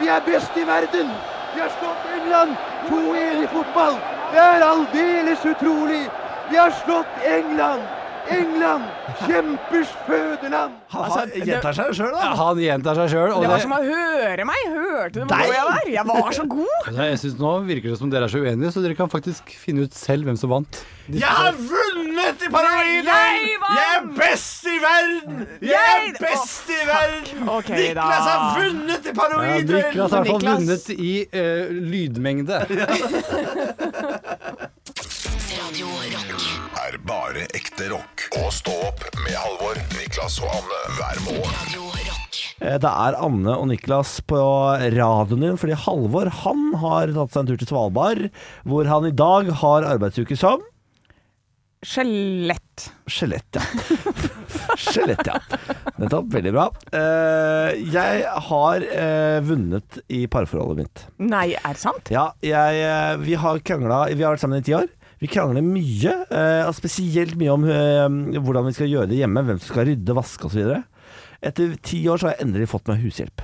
[SPEAKER 11] Vi er best i verden! Vi har slått England 2-1 i fotball. Det er aldeles utrolig! Vi har slått England! England, kjempers fødeland!
[SPEAKER 4] Han gjentar seg sjøl,
[SPEAKER 10] Altså, Ja, han gjentar seg sjøl.
[SPEAKER 3] Det var som å høre meg. Hørte du hvor god jeg var? Jeg var så god!
[SPEAKER 10] Jeg synes Nå virker det som dere er så uenige, så dere kan faktisk finne ut selv hvem som vant.
[SPEAKER 4] Jeg har vunnet i paranoiden!
[SPEAKER 3] Jeg vant!
[SPEAKER 4] Jeg er best i verden! Jeg er
[SPEAKER 3] Jeg-
[SPEAKER 4] best i verden!
[SPEAKER 3] Ok, da.
[SPEAKER 4] Niklas har vunnet i
[SPEAKER 10] Ja,
[SPEAKER 4] paranoiden!
[SPEAKER 10] Niklas har i hvert fall
[SPEAKER 3] Niklas.
[SPEAKER 10] vunnet i eh, lydmengde.
[SPEAKER 1] Radio Rock.
[SPEAKER 2] er bare ekte rock. Og stå opp med Halvor, Niklas og Anne hver morgen.
[SPEAKER 1] Radio Rock.
[SPEAKER 4] Eh, Det er Anne og Niklas på radioen din, fordi Halvor han har tatt seg en tur til Svalbard, hvor han i dag har arbeidsuke som
[SPEAKER 3] Skjelett.
[SPEAKER 4] skjelett, ja. skjelett, ja. Nettopp. Veldig bra. Eh, Jeg har eh, vunnet i parforholdet mitt.
[SPEAKER 3] Nei, er det sant?
[SPEAKER 4] Ja, jeg, eh, vi har krangla Vi har vært sammen i ti år. Vi krangler mye, eh, og spesielt mye om eh, hvordan vi skal gjøre det hjemme. Hvem som skal rydde, vaske osv. Etter ti år så har jeg endelig fått meg hushjelp.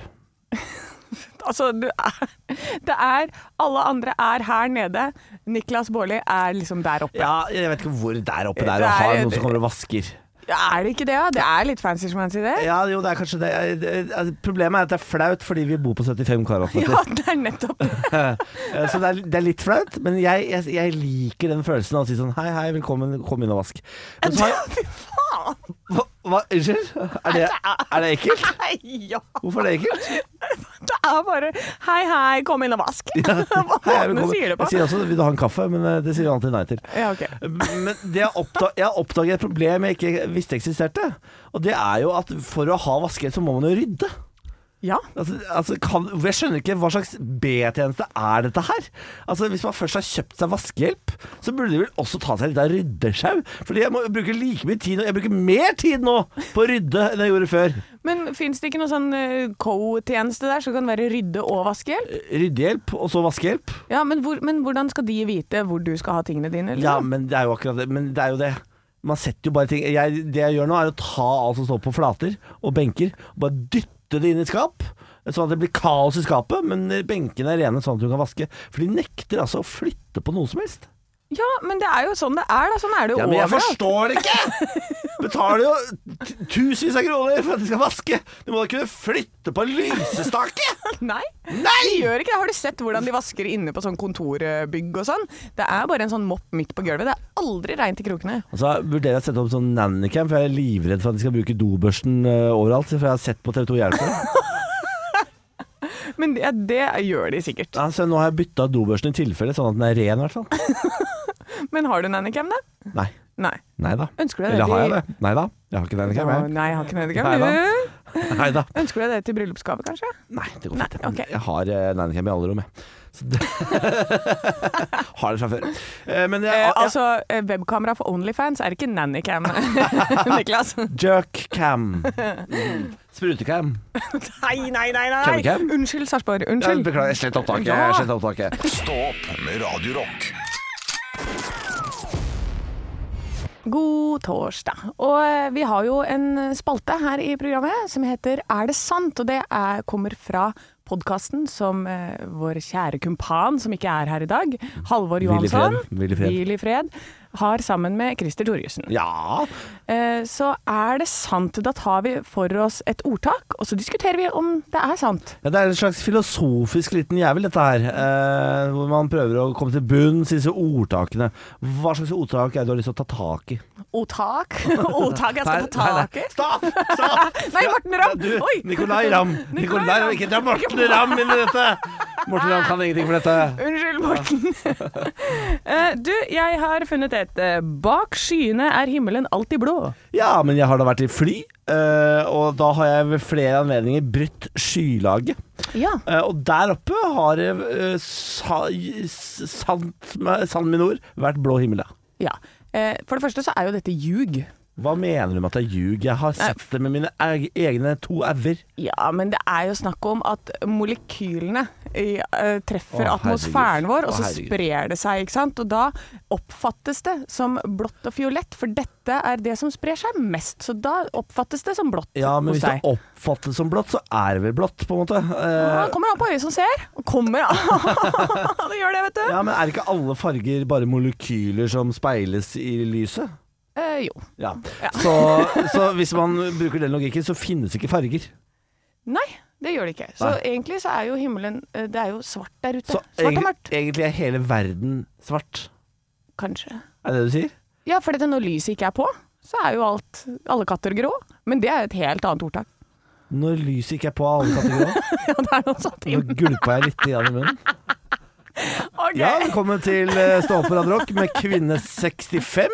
[SPEAKER 3] Altså, du er Det er Alle andre er her nede. Niklas Baarli er liksom der oppe.
[SPEAKER 4] Ja, Jeg vet ikke hvor der oppe der
[SPEAKER 3] Det
[SPEAKER 4] og
[SPEAKER 3] er-
[SPEAKER 4] har noen som kommer og vasker.
[SPEAKER 3] Er det ikke det? da? Det er litt fancy som han sier det.
[SPEAKER 4] Ja, jo, det er kanskje det. Jeg- det- jeg- Problemet er at det er flaut fordi vi bor på 75 kvadratmeter.
[SPEAKER 3] Ja, det er nettopp det.
[SPEAKER 4] Eh, Så det er, det er litt flaut, men jeg, jeg, jeg liker den følelsen av å si sånn Hei, hei, velkommen, kom inn og vask. Men så har jeg
[SPEAKER 3] Fy faen!
[SPEAKER 4] hva, hva, Unnskyld? Er det, er det ekkelt?
[SPEAKER 3] Nei, ja.
[SPEAKER 4] Hvorfor er det ekkelt?
[SPEAKER 3] Det er bare Hei, hei, kom inn og vask. Hva
[SPEAKER 4] Hei,
[SPEAKER 3] faen
[SPEAKER 4] velkommen.
[SPEAKER 3] sier du på?
[SPEAKER 4] Jeg sier også 'vil du ha en kaffe', men eh, det sier han alltid nei til.
[SPEAKER 3] Ja, ok.
[SPEAKER 4] Men det jeg, oppdag, jeg har oppdaget et problem jeg ikke visste eksisterte. Og det er jo at for å ha vasket, så må man jo rydde.
[SPEAKER 3] Ja.
[SPEAKER 4] Altså, altså kan, jeg skjønner ikke hva slags B-tjeneste er dette her. Altså Hvis man først har kjøpt seg vaskehjelp, så burde de vel også ta seg litt av ryddesjau. Fordi jeg må bruke like mye tid nå Jeg bruker mer tid nå på å rydde enn jeg gjorde før.
[SPEAKER 3] Men fins det ikke noe sånn eh, co-tjeneste der som kan være rydde- og vaskehjelp?
[SPEAKER 4] Ryddehjelp, og så vaskehjelp.
[SPEAKER 3] Ja, men, hvor, men hvordan skal de vite hvor du skal ha tingene dine?
[SPEAKER 4] Ja,
[SPEAKER 3] Liksom?
[SPEAKER 4] men det er jo akkurat det. Men det er jo det. Man setter jo bare ting jeg, Det jeg gjør nå, er å ta alt som står på flater og benker, og bare dytte det inn i skap. Sånn at det blir kaos i skapet, men benkene er rene, sånn at du kan vaske. For de nekter altså å flytte på noe som helst.
[SPEAKER 3] Ja, men det er jo sånn det er, da. Sånn er det jo
[SPEAKER 4] Ja, men jeg
[SPEAKER 3] overalt.
[SPEAKER 4] forstår det ikke! Betaler jo t- tusenvis av kroner for at de skal vaske. Du må da kunne flytte på en lysestake!
[SPEAKER 3] Nei.
[SPEAKER 4] Nei!
[SPEAKER 3] De gjør ikke det. Har du sett hvordan de vasker inne på sånn kontorbygg og sånn? Det er bare en sånn mopp midt på gulvet. Det er aldri reint i krokene.
[SPEAKER 4] Og så Altså, vurderer jeg å sette opp sånn nannycam, for jeg er livredd for at de skal bruke dobørsten eh, overalt. For jeg har sett på TV2 Hjelper.
[SPEAKER 3] Men det, det gjør de sikkert.
[SPEAKER 4] Ja, så nå har jeg bytta dobørsten i tilfelle, sånn at den er ren i hvert fall.
[SPEAKER 3] Men har du nannycam, da?
[SPEAKER 4] Nei.
[SPEAKER 3] Nei.
[SPEAKER 4] Nei da.
[SPEAKER 3] Ønsker du det?
[SPEAKER 4] Eller har jeg det? Nei da. Jeg har ikke nannycam,
[SPEAKER 3] Å,
[SPEAKER 4] jeg.
[SPEAKER 3] Nei, jeg har ikke nannycam.
[SPEAKER 4] Nei da.
[SPEAKER 3] Du?
[SPEAKER 4] Nei da.
[SPEAKER 3] Ønsker du deg det til bryllupsgave, kanskje?
[SPEAKER 4] Nei, det går
[SPEAKER 3] Nei,
[SPEAKER 4] fint. jeg.
[SPEAKER 3] ok.
[SPEAKER 4] Jeg har uh, nannycam i alle rom, jeg. Så det har det fra før. Eh, men jeg,
[SPEAKER 3] Eh,
[SPEAKER 4] jeg,
[SPEAKER 3] altså, eh, webkamera for Onlyfans er ikke nannycam, Niklas.
[SPEAKER 4] Jerk cam. Mm. Sprutecam.
[SPEAKER 3] Nei, nei, nei. nei.
[SPEAKER 4] Camcam?
[SPEAKER 3] Unnskyld, Sarpsborg.
[SPEAKER 4] Jeg
[SPEAKER 3] Unnskyld.
[SPEAKER 4] Beklager, slett opptaket.
[SPEAKER 3] Ja.
[SPEAKER 4] Slett opptaket.
[SPEAKER 2] Stå opp med Radio Rock.
[SPEAKER 3] God torsdag. Og eh, vi har jo en spalte her i programmet som heter Er det sant? Og det er, kommer fra podkasten som eh, vår kjære kumpan, som ikke er her i dag, Halvor
[SPEAKER 4] Hvil i fred.
[SPEAKER 3] Johansson,
[SPEAKER 4] Hvil i fred.
[SPEAKER 3] Hvil i fred, har sammen med Christer Thorjussen.
[SPEAKER 4] Ja.
[SPEAKER 3] Eh, Så er det sant. Da tar vi for oss et ordtak, og så diskuterer vi om det er sant.
[SPEAKER 4] Ja, det er en slags filosofisk liten jævel, dette her. Eh, hvor man prøver å komme til bunns i disse ordtakene. Hva slags ordtak er det du har lyst til å ta tak i?
[SPEAKER 3] Ordtak? Ordtak jeg skal få
[SPEAKER 4] Nei, nei,
[SPEAKER 3] tak i?
[SPEAKER 4] nei. Stopp! Stopp!
[SPEAKER 3] Nei, Morten Ramm!
[SPEAKER 4] Du,
[SPEAKER 3] Oi!
[SPEAKER 4] Nicolai Ramm.
[SPEAKER 3] Nicolai
[SPEAKER 4] Nicolai Ramm, ikke dra Morten Ramm inn i dette! Morten Ramm kan ingenting for dette.
[SPEAKER 3] Unnskyld, Morten. Eh, du, jeg har funnet et. eh, Bak skyene er himmelen alltid blå.
[SPEAKER 4] Ja, men jeg har da vært i fly, eh, og da har jeg ved flere anledninger brutt skylaget.
[SPEAKER 3] Ja.
[SPEAKER 4] Eh, og der oppe har jeg, eh, sa, s- sant, med- sant mine ord, vært blå himmel, ja.
[SPEAKER 3] ja. Eh, For det første så er jo dette ljug.
[SPEAKER 4] Hva mener du med at jeg ljuger? Jeg har sett det med mine eg- egne to auger.
[SPEAKER 3] Ja, men det er jo snakk om at molekylene i, eh, treffer
[SPEAKER 4] Å,
[SPEAKER 3] atmosfæren
[SPEAKER 4] herregud.
[SPEAKER 3] vår,
[SPEAKER 4] Å,
[SPEAKER 3] og så
[SPEAKER 4] herregud.
[SPEAKER 3] sprer det seg, ikke sant? Og da oppfattes det som blått og fiolett, for dette er det som sprer seg mest. Så da oppfattes det som blått
[SPEAKER 4] Ja, men
[SPEAKER 3] hos
[SPEAKER 4] hvis
[SPEAKER 3] deg.
[SPEAKER 4] det oppfattes som blått, så er det vel blått, på en måte. Eh,
[SPEAKER 3] Ja, kommer an på øyet som ser. Kommer an Det gjør det, vet du.
[SPEAKER 4] ja, men er ikke alle farger bare molekyler som speiles i lyset?
[SPEAKER 3] Eh, jo.
[SPEAKER 4] Ja. Så, så hvis man bruker den logikken, så finnes ikke farger.
[SPEAKER 3] Nei, det gjør det ikke. Så
[SPEAKER 4] Nei.
[SPEAKER 3] egentlig så er jo himmelen eh, Det er jo svart der ute.
[SPEAKER 4] Så
[SPEAKER 3] svart og
[SPEAKER 4] egen-
[SPEAKER 3] mørkt.
[SPEAKER 4] egentlig er hele verden svart.
[SPEAKER 3] Kanskje.
[SPEAKER 4] Er det det du sier?
[SPEAKER 3] Ja, for dette når lyset ikke er på, så er jo alt Alle katter grå. Men det er jo et helt annet ordtak.
[SPEAKER 4] Når lyset ikke er på alle kategorier,
[SPEAKER 3] Ja, det er noe sånt.
[SPEAKER 4] nå gulpa jeg litt grann i munnen.
[SPEAKER 3] Ok.
[SPEAKER 4] Ja, velkommen til eh, Stå opp på Radio Rock med kvinne 65.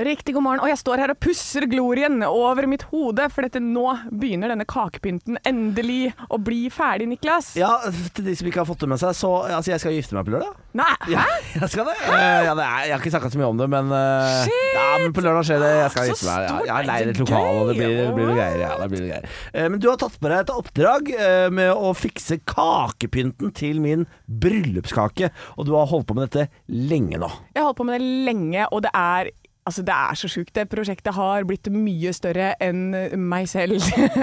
[SPEAKER 3] Riktig god morgen. Og jeg står her og pusser glorien over mitt hode, for dette nå begynner denne kakepynten endelig å bli ferdig, Niklas.
[SPEAKER 4] Ja, til de som ikke har fått det med seg, så Altså, jeg skal gifte meg på lørdag.
[SPEAKER 3] Nei,
[SPEAKER 4] Ja,
[SPEAKER 3] hæ?
[SPEAKER 4] jeg skal det. Eh, Ja, det er, jeg har ikke snakka så mye om det, men eh,
[SPEAKER 3] Shit!
[SPEAKER 4] Ja, men på lørdag skjer det. Jeg skal
[SPEAKER 3] Så
[SPEAKER 4] gifte meg. Ja,
[SPEAKER 3] stort.
[SPEAKER 4] jeg
[SPEAKER 3] Nei,
[SPEAKER 4] leier et
[SPEAKER 3] så
[SPEAKER 4] lokal, og det
[SPEAKER 3] gøy.
[SPEAKER 4] blir, det blir noe greier. Ja, det blir noe greier. Eh, Men du har tatt på deg et oppdrag eh, med å fikse kakepynten til min bryllupskake, og du har holdt på med dette lenge nå.
[SPEAKER 3] Jeg har holdt på med det lenge, og det er Altså, det er så sjukt. Det prosjektet har blitt mye større enn meg selv.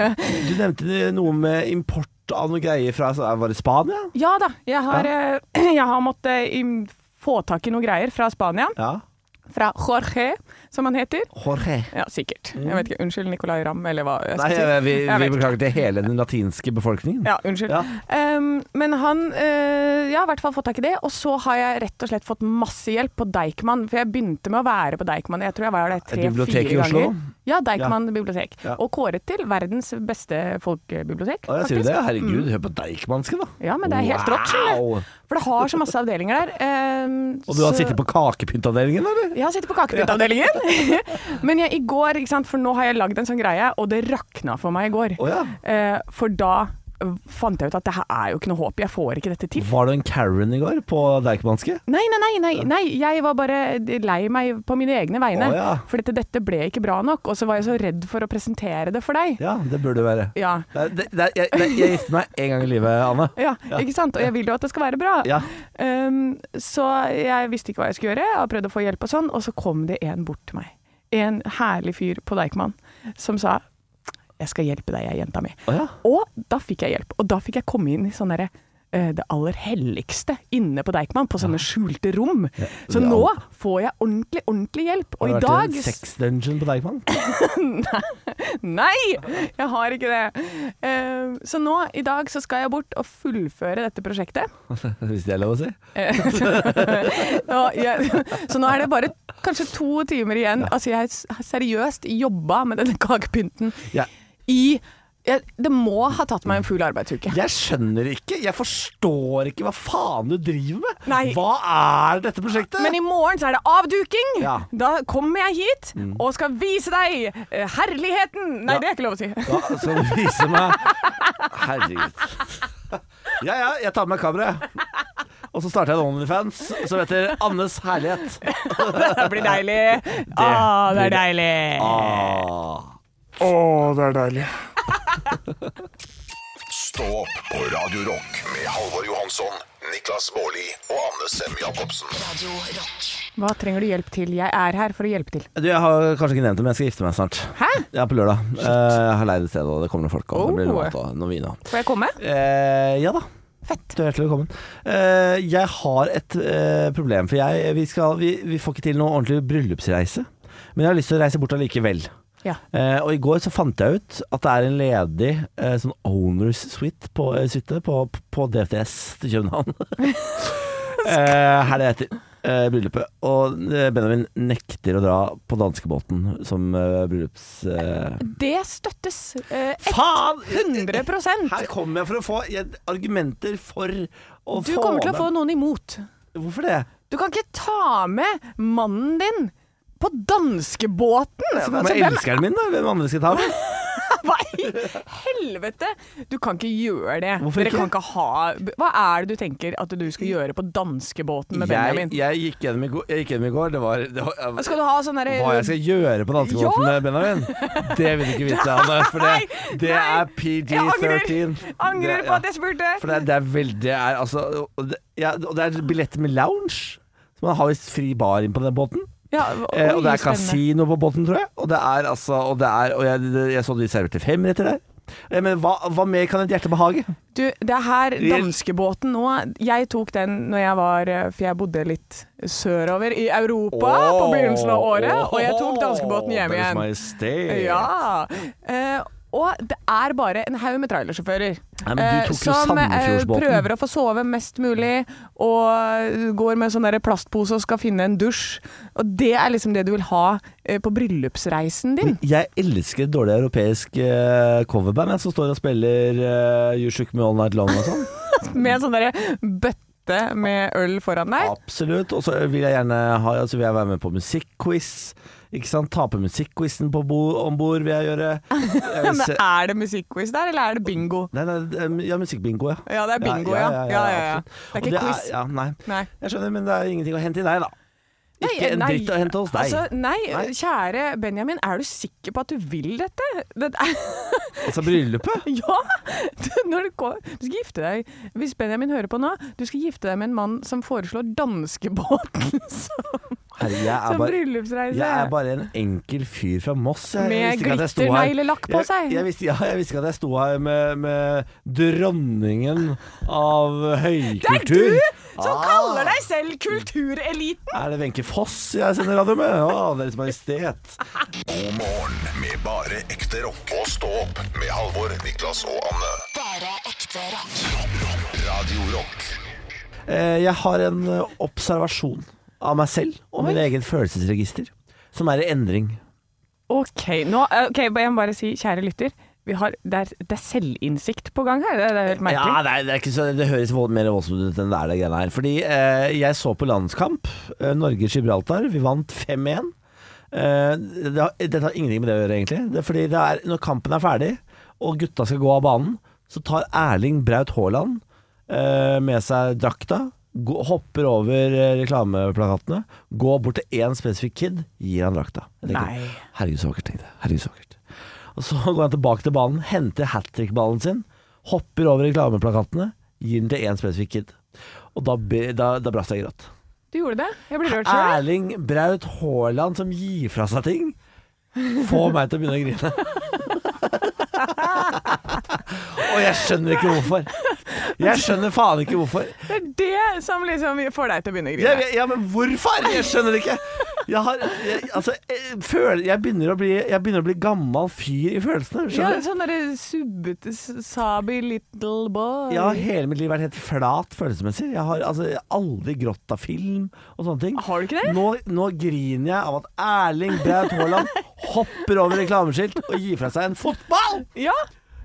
[SPEAKER 4] Du nevnte noe med import av noe greier fra så Var det Spania?
[SPEAKER 3] ja da, jeg har, eh, jeg har måttet im- få tak i noe greier fra Spania.
[SPEAKER 4] Ja.
[SPEAKER 3] Fra Jorge, som han heter.
[SPEAKER 4] Jorge.
[SPEAKER 3] Ja, sikkert. Jeg vet ikke. Unnskyld, Nicolay Ramm, eller hva jeg
[SPEAKER 4] Nei,
[SPEAKER 3] skal si.
[SPEAKER 4] vi,
[SPEAKER 3] Jeg
[SPEAKER 4] vi
[SPEAKER 3] vet ikke.
[SPEAKER 4] beklager til hele den latinske befolkningen.
[SPEAKER 3] Ja, unnskyld.
[SPEAKER 4] Ja.
[SPEAKER 3] Ehm, men han eh, Ja, i hvert fall fått tak i det. Og så har jeg rett og slett fått masse hjelp på Deichman, for jeg begynte med å være på Deichman. Jeg tror jeg var der
[SPEAKER 4] Et bibliotek i
[SPEAKER 3] tre-fire
[SPEAKER 4] Oslo?
[SPEAKER 3] ganger. Ja, Deichman bibliotek.
[SPEAKER 4] Ja.
[SPEAKER 3] Og kåret til verdens beste folkebibliotek.
[SPEAKER 4] Å, jeg sier
[SPEAKER 3] faktisk.
[SPEAKER 4] det. Herregud, hør på Deichmanske, da.
[SPEAKER 3] Mm. Ja, men det er helt rått. skjønner
[SPEAKER 4] Wow.
[SPEAKER 3] du. For det har så masse avdelinger der. ehm,
[SPEAKER 4] Og du har
[SPEAKER 3] så-
[SPEAKER 4] sittet på kakepyntavdelingen, eller?
[SPEAKER 3] Jeg har sittet på kakepyntavdelingen. Men jeg, i går, ikke sant, for nå har jeg lagd en sånn greie, og det rakna for meg i går.
[SPEAKER 4] Å, ja.
[SPEAKER 3] Eh, for da eh, fant jeg ut at det her er jo ikke noe håp. Jeg får ikke dette til.
[SPEAKER 4] Var du en Karen i går på Deichmanske?
[SPEAKER 3] Nei, nei, nei, nei, nei, jeg var bare lei meg på mine egne vegne.
[SPEAKER 4] Å, ja.
[SPEAKER 3] For dette, dette ble ikke bra nok, og så var jeg så redd for å presentere det for deg.
[SPEAKER 4] Ja, det burde du være.
[SPEAKER 3] Ja.
[SPEAKER 4] Det, er- det, det, er- jeg, det, er- jeg gifter meg én gang i livet, Anne.
[SPEAKER 3] Ja, ikke sant? Og jeg vil jo at det skal være bra.
[SPEAKER 4] Ja.
[SPEAKER 3] Um, så jeg visste ikke hva jeg skulle gjøre, og prøvde å få hjelp og sånn, og så kom det en bort til meg. En herlig fyr på Deichman som sa 'Jeg skal hjelpe deg, jeg, jenta mi'.
[SPEAKER 4] Å, ja.
[SPEAKER 3] Og da fikk jeg hjelp. Og da fikk jeg komme inn i sånn derre eh, det aller helligste inne på Deichman, på sånne skjulte rom. Så
[SPEAKER 4] det er
[SPEAKER 3] nå
[SPEAKER 4] alt.
[SPEAKER 3] får jeg ordentlig, ordentlig hjelp. Og
[SPEAKER 4] Har
[SPEAKER 3] i
[SPEAKER 4] du vært
[SPEAKER 3] dag
[SPEAKER 4] i en sex dungeon på Deichman?
[SPEAKER 3] Nei! Jeg har ikke det. Eh, så nå, i dag, så skal jeg bort og fullføre dette prosjektet.
[SPEAKER 4] Hvis det er lov å si.
[SPEAKER 3] Og jeg, så nå er det bare kanskje to timer igjen. Altså, jeg har seriøst jobba med denne kakepynten
[SPEAKER 4] Ja.
[SPEAKER 3] i jeg, Det må ha tatt meg en full arbeidsuke.
[SPEAKER 4] Jeg skjønner ikke, jeg forstår ikke hva faen du driver med.
[SPEAKER 3] Nei.
[SPEAKER 4] Hva er dette prosjektet?
[SPEAKER 3] Men i morgen så er det avduking.
[SPEAKER 4] Ja. Mm.
[SPEAKER 3] Da kommer jeg hit og skal vise deg eh, herligheten. Nei,
[SPEAKER 4] Ja.
[SPEAKER 3] det er ikke lov å si.
[SPEAKER 4] Ja, skal du vise meg Herregud. Ja, ja, jeg tar med meg kameraet. Og så starter jeg en Onlyfans som heter Annes herlighet.
[SPEAKER 3] Det blir deilig. Ah, det
[SPEAKER 4] blir Ah.
[SPEAKER 3] er deilig.
[SPEAKER 2] Stå opp på Radio Rock med Halvor Johansson, Niklas Baarli og Anne Sem Jacobsen.
[SPEAKER 1] Radio Rock.
[SPEAKER 3] Hva trenger du hjelp til? Jeg er her for å hjelpe til.
[SPEAKER 4] Du, jeg har kanskje ikke nevnt det, men jeg skal gifte meg snart.
[SPEAKER 3] Hæ?
[SPEAKER 4] Ja, på lørdag. Eh, Jeg har leid et sted, og det kommer noen folk. Og det blir
[SPEAKER 3] Oh.
[SPEAKER 4] noe mat og noe vin. Og.
[SPEAKER 3] Får jeg komme?
[SPEAKER 4] Eh, ja da.
[SPEAKER 3] Fett.
[SPEAKER 4] Du er hjertelig velkommen. Eh, jeg har et eh, problem, for jeg, vi, skal, vi, vi får ikke til noe ordentlig bryllupsreise. Men jeg har lyst til å reise bort allikevel.
[SPEAKER 3] Ja.
[SPEAKER 4] Eh, og i går så fant jeg ut at det er en ledig eh, sånn owners suite på, eh, suite på, på DTS til København. eh, her det heter eh, bryllupet. Og eh, Benjamin nekter å dra på danskebåten som eh, bryllups... Eh.
[SPEAKER 3] Det støttes. Eh,
[SPEAKER 4] Faen!
[SPEAKER 3] 100
[SPEAKER 4] Her kommer jeg for å få jeg, argumenter for å
[SPEAKER 3] Du
[SPEAKER 4] få
[SPEAKER 3] kommer til å
[SPEAKER 4] med-
[SPEAKER 3] få noen imot.
[SPEAKER 4] Hvorfor det?
[SPEAKER 3] Du kan ikke ta med mannen din på danskebåten! Altså,
[SPEAKER 4] Som er med elskeren min, da. Hvem andre skal ta med?
[SPEAKER 3] Hva i helvete? Du kan ikke gjøre det.
[SPEAKER 4] Hvorfor
[SPEAKER 3] Dere
[SPEAKER 4] ikke?
[SPEAKER 3] kan ikke ha Hva er det du tenker at du skal gjøre på danskebåten med
[SPEAKER 4] Jeg,
[SPEAKER 3] Benjamin?
[SPEAKER 4] jeg gikk gjennom i går, jeg gikk gjennom i går. Det var, det var jeg-
[SPEAKER 3] Skal du ha sånn derre
[SPEAKER 4] Hva jeg skal gjøre på danskebåten med Benjamin? Det vil du ikke vite, Anne. For det, det
[SPEAKER 3] nei.
[SPEAKER 4] er PG-13.
[SPEAKER 3] Jeg angrer, angrer
[SPEAKER 4] Det-
[SPEAKER 3] på at jeg spurte.
[SPEAKER 4] For det, er- det er veldig det er, altså, og, det, ja, og det er billett med lounge. Så man har visst fri bar inn på den båten.
[SPEAKER 3] Ja,
[SPEAKER 4] Eh, og
[SPEAKER 3] oi,
[SPEAKER 4] det er
[SPEAKER 3] spennende.
[SPEAKER 4] kasino på båten, tror jeg. Og det er altså Og, det er, og jeg, det- jeg så de serverte femretter der. Eh, Men hva, hva mer kan et hjerte behage?
[SPEAKER 3] Du, det er her danskebåten nå Jeg tok den når jeg var eh, For jeg bodde litt sørover i Europa på begynnelsen av året. Og jeg tok danskebåten hjem
[SPEAKER 4] Deres
[SPEAKER 3] igjen.
[SPEAKER 4] Majestet.
[SPEAKER 3] Ja. Eh, og det er bare en haug med trailersjåfører
[SPEAKER 4] Nei, men du
[SPEAKER 3] eh,
[SPEAKER 4] tok jo
[SPEAKER 3] som eh,
[SPEAKER 4] Sandefjordsbåten.
[SPEAKER 3] prøver å få sove mest mulig, og eh, går med sånn der plastpose og skal finne en dusj. Og det er liksom det du vil ha eh, på bryllupsreisen din.
[SPEAKER 4] Jeg elsker dårlig europeisk eh, coverband jeg, som står og spiller eh, You Shook Me All Night Long og sånn.
[SPEAKER 3] Med sånn derre bøtte med øl foran deg.
[SPEAKER 4] Absolutt. Og så vil jeg gjerne ha, altså vil jeg være med på musikkquiz. Ikke sant? Ta på musikkquizen på bo, om bord vil jeg gjøre. Jeg vil
[SPEAKER 3] Men
[SPEAKER 4] se-
[SPEAKER 3] er det musikkquiz der, eller er det bingo?
[SPEAKER 4] Nei, nei, det er- ja, musikkbingo, ja.
[SPEAKER 3] Ja, det er bingo, ja. Ja, ja, ja.
[SPEAKER 4] absolutt.
[SPEAKER 3] Det er
[SPEAKER 4] Og
[SPEAKER 3] ikke quiz.
[SPEAKER 4] Ja, nei.
[SPEAKER 3] Nei.
[SPEAKER 4] Jeg skjønner, men det er ingenting å hente i deg, da. Ikke en dritt å hente hos deg.
[SPEAKER 3] Altså, nei,
[SPEAKER 4] Nei.
[SPEAKER 3] kjære Benjamin, er du sikker på at du vil dette? Det er,
[SPEAKER 4] Altså bryllupet.
[SPEAKER 3] ja! Du, når du, kom, du skal gifte deg, hvis Benjamin hører på nå, du skal gifte deg med en mann som foreslår danskebåten som,
[SPEAKER 4] Herre, jeg er
[SPEAKER 3] som
[SPEAKER 4] bare-
[SPEAKER 3] bryllupsreise.
[SPEAKER 4] Jeg er bare en enkel fyr fra Moss. Jeg
[SPEAKER 3] Med
[SPEAKER 4] visste ikke at jeg sto her-
[SPEAKER 3] glitternegler-lakk på
[SPEAKER 4] Jeg-
[SPEAKER 3] seg.
[SPEAKER 4] Jeg visste, ja, jeg visste ikke at jeg sto her med, med dronningen av
[SPEAKER 3] det er
[SPEAKER 4] høykultur.
[SPEAKER 3] du som
[SPEAKER 4] Ah.
[SPEAKER 3] kaller deg selv kultureliten!
[SPEAKER 4] Er det Wenche Foss jeg sender radio med? Å, Deres Majestet.
[SPEAKER 2] God morgen med bare ekte rock. Og stå opp med Halvor, Niklas og Anne.
[SPEAKER 1] Bare ekte rock.
[SPEAKER 2] Radio Rock.
[SPEAKER 4] Eh, Jeg har en eh, observasjon av meg selv og min egen følelsesregister som er i endring.
[SPEAKER 3] Ok, nå, eh, ok, jeg må bare si, kjære lytter, vi har, det, er, det er selvinnsikt på gang her. Det, det er helt merkelig.
[SPEAKER 4] Ja, nei, det, er ikke så, det høres vold, mer voldsomt ut enn det er, det greiene her. Fordi eh, jeg så på landskamp. Eh, Norge-Gibraltar. Vi vant 5-1. Eh, det, har- dette har ingenting med det å gjøre, egentlig. Det er fordi det er, når kampen er ferdig, og gutta skal gå av banen, så tar Erling Braut Haaland eh, med seg drakta. gå- Hopper over eh, reklameplakatene, går bort til én spesifikk kid, gir han drakta. Jeg tenker,
[SPEAKER 3] Nei.
[SPEAKER 4] Herregud, så vakkert, tenkte jeg. Herregud, så vakkert. Og så går han tilbake til banen, henter hat trick-ballen sin, hopper over reklameplakatene, gir den til én spesifikk kid. Og da, be- da, da brast jeg i gråt.
[SPEAKER 3] Du gjorde det? Jeg blir rørt selv.
[SPEAKER 4] Erling Braut Haaland som gir fra seg ting, får meg til å begynne å grine. Og jeg skjønner ikke hvorfor. Jeg skjønner faen ikke hvorfor.
[SPEAKER 3] Det er det som liksom får deg til å begynne å
[SPEAKER 4] Ja,
[SPEAKER 3] grine.
[SPEAKER 4] ja, ja, men hvorfor? Jeg skjønner det ikke. Jeg, har, jeg, altså, jeg, føler, jeg, begynner å bli, jeg begynner å bli gammel fyr i følelsene.
[SPEAKER 3] Ja,
[SPEAKER 4] Skjønner du?
[SPEAKER 3] sånn derre subbete s- sabi little boy.
[SPEAKER 4] Jeg har hele mitt liv vært helt flat følelsesmessig. Jeg har altså, jeg har aldri grått av film og sånne ting.
[SPEAKER 3] Har du ikke det?
[SPEAKER 4] Nå, nå griner jeg av at Erling Braut Haaland hopper over reklameskilt og gir fra seg en fotball!
[SPEAKER 3] Ja,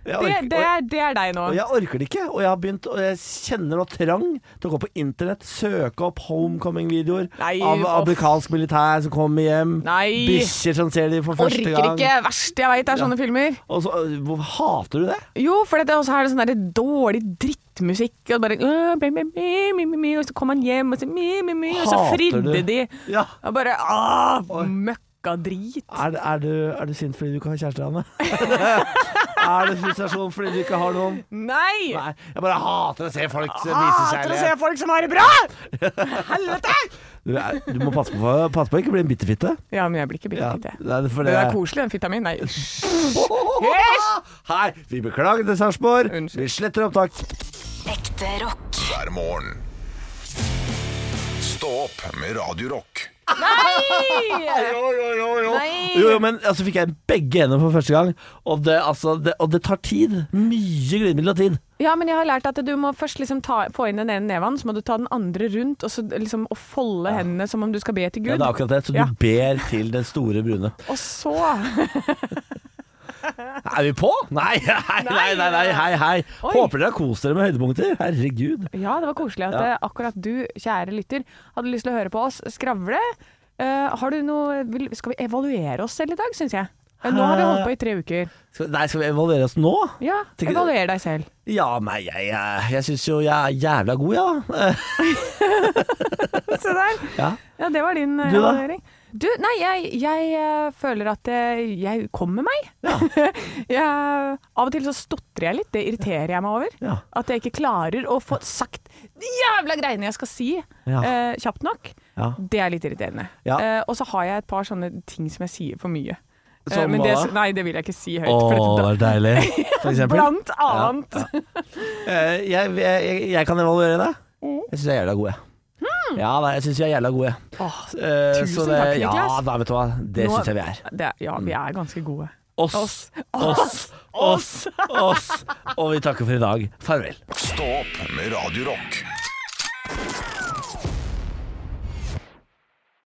[SPEAKER 4] Jeg
[SPEAKER 3] det,
[SPEAKER 4] orker,
[SPEAKER 3] det, er, det er deg nå.
[SPEAKER 4] og jeg orker det ikke, og jeg har begynt Og jeg kjenner nå trang til å gå på internett, søke opp homecoming-videoer
[SPEAKER 3] Nei,
[SPEAKER 4] av
[SPEAKER 3] uff.
[SPEAKER 4] amerikansk militær som kommer hjem,
[SPEAKER 3] Nei.
[SPEAKER 4] bikkjer som ser dem for første
[SPEAKER 3] Orker
[SPEAKER 4] gang
[SPEAKER 3] ikke. Verst jeg veit er sånne filmer.
[SPEAKER 4] Og så, øh, hvor, Hater du det?
[SPEAKER 3] Jo, for det, og så er det sånn derre dårlig drittmusikk, og bare øh, mi, mi, mi, mi, mi, Og så kom han hjem, og så mi, mi, mi, Og så
[SPEAKER 4] Hater
[SPEAKER 3] fridde
[SPEAKER 4] du?
[SPEAKER 3] de.
[SPEAKER 4] Ja.
[SPEAKER 3] Og bare ah,
[SPEAKER 4] Oi.
[SPEAKER 3] møkkadrit.
[SPEAKER 4] Er, er, du, er du sint fordi du ikke har kjæreste, Anne? er det frustrasjon fordi du ikke har noen?
[SPEAKER 3] Nei!
[SPEAKER 4] Nei, jeg bare hater å se folk som viser
[SPEAKER 3] Hater å se
[SPEAKER 4] kjærlighet.
[SPEAKER 3] folk som har det bra! Helvete!
[SPEAKER 4] Du, er, du må passe på, passe på å ikke bli en bitterfitte.
[SPEAKER 3] Ja, men jeg blir ikke billig.
[SPEAKER 4] Ja, nei, for
[SPEAKER 3] det
[SPEAKER 4] det-
[SPEAKER 3] er koselig, den fitta mi. Nei.
[SPEAKER 4] Hei, vi beklager til Sarpsborg. Vi sletter opptak.
[SPEAKER 1] Ekte rock.
[SPEAKER 2] hver morgen. Stå opp med Radio Rock.
[SPEAKER 3] Nei!
[SPEAKER 4] Jo, jo, men altså fikk jeg begge ender for første gang, og det, altså, det, og det tar tid. Mye glidemiddel og tid.
[SPEAKER 3] Ja, men jeg har lært at du må først liksom ta, få inn den ene neven, så må du ta den andre rundt, og så liksom å folde hendene som om du skal be til
[SPEAKER 4] Ja,
[SPEAKER 3] Gud.
[SPEAKER 4] det er akkurat det. Så du
[SPEAKER 3] Ja.
[SPEAKER 4] ber til den store brune.
[SPEAKER 3] Og så
[SPEAKER 4] Er vi på? Nei, hei, nei, nei, nei, hei, hei.
[SPEAKER 3] Oi.
[SPEAKER 4] Håper dere har kost dere med høydepunkter. Herregud.
[SPEAKER 3] Ja, det var koselig at eh, akkurat du, kjære lytter, hadde lyst til å høre på oss skravle. Eh, har du noe vil, Skal vi evaluere oss selv i dag, syns jeg? Eh, Nå har vi holdt på i tre uker.
[SPEAKER 4] Skal, nei, skal vi evaluere oss nå?
[SPEAKER 3] Ja,
[SPEAKER 4] Tenker-
[SPEAKER 3] evaluer deg selv.
[SPEAKER 4] Ja, nei, jeg, jeg, jeg syns jo jeg er jævla god, ja. Eh,
[SPEAKER 3] Se der.
[SPEAKER 4] ja.
[SPEAKER 3] Ja, det var din eh,
[SPEAKER 4] Du da?
[SPEAKER 3] evaluering. Du, nei, jeg, jeg eh, føler at eh, jeg kommer meg. jeg, av og til så stotrer jeg litt, det irriterer jeg meg over.
[SPEAKER 4] Ja.
[SPEAKER 3] At jeg ikke klarer å få sagt de jævla greiene jeg skal si
[SPEAKER 4] Ja.
[SPEAKER 3] eh, kjapt nok.
[SPEAKER 4] Ja.
[SPEAKER 3] Det er litt irriterende.
[SPEAKER 4] Ja.
[SPEAKER 3] Eh, og så har jeg et par sånne ting som jeg sier for mye. Eh,
[SPEAKER 4] Som
[SPEAKER 3] men
[SPEAKER 4] hva
[SPEAKER 3] det,
[SPEAKER 4] da?
[SPEAKER 3] nei, det vil jeg ikke si høyt.
[SPEAKER 4] Å,
[SPEAKER 3] for
[SPEAKER 4] det
[SPEAKER 3] dette-
[SPEAKER 4] er deilig. For eksempel.
[SPEAKER 3] Blant annet.
[SPEAKER 4] Eh, Jeg, jeg, jeg, jeg kan evaluere deg.
[SPEAKER 3] Mm.
[SPEAKER 4] Jeg syns jeg er jævla god, jeg. Ja, nei, jeg syns jeg er jævla god, jeg.
[SPEAKER 3] Åh,
[SPEAKER 4] Eh,
[SPEAKER 3] Hmm. Tusen
[SPEAKER 4] så
[SPEAKER 3] takk,
[SPEAKER 4] Ja,
[SPEAKER 3] Niklas.
[SPEAKER 4] da, vet du hva. Det
[SPEAKER 3] nå-
[SPEAKER 4] syns jeg vi er. Mm.
[SPEAKER 3] Det, ja, vi er ganske gode.
[SPEAKER 4] Oss. Oss. Oss. Oss. Og vi takker for i dag. Farvel.
[SPEAKER 2] Stå opp med Radio Rock.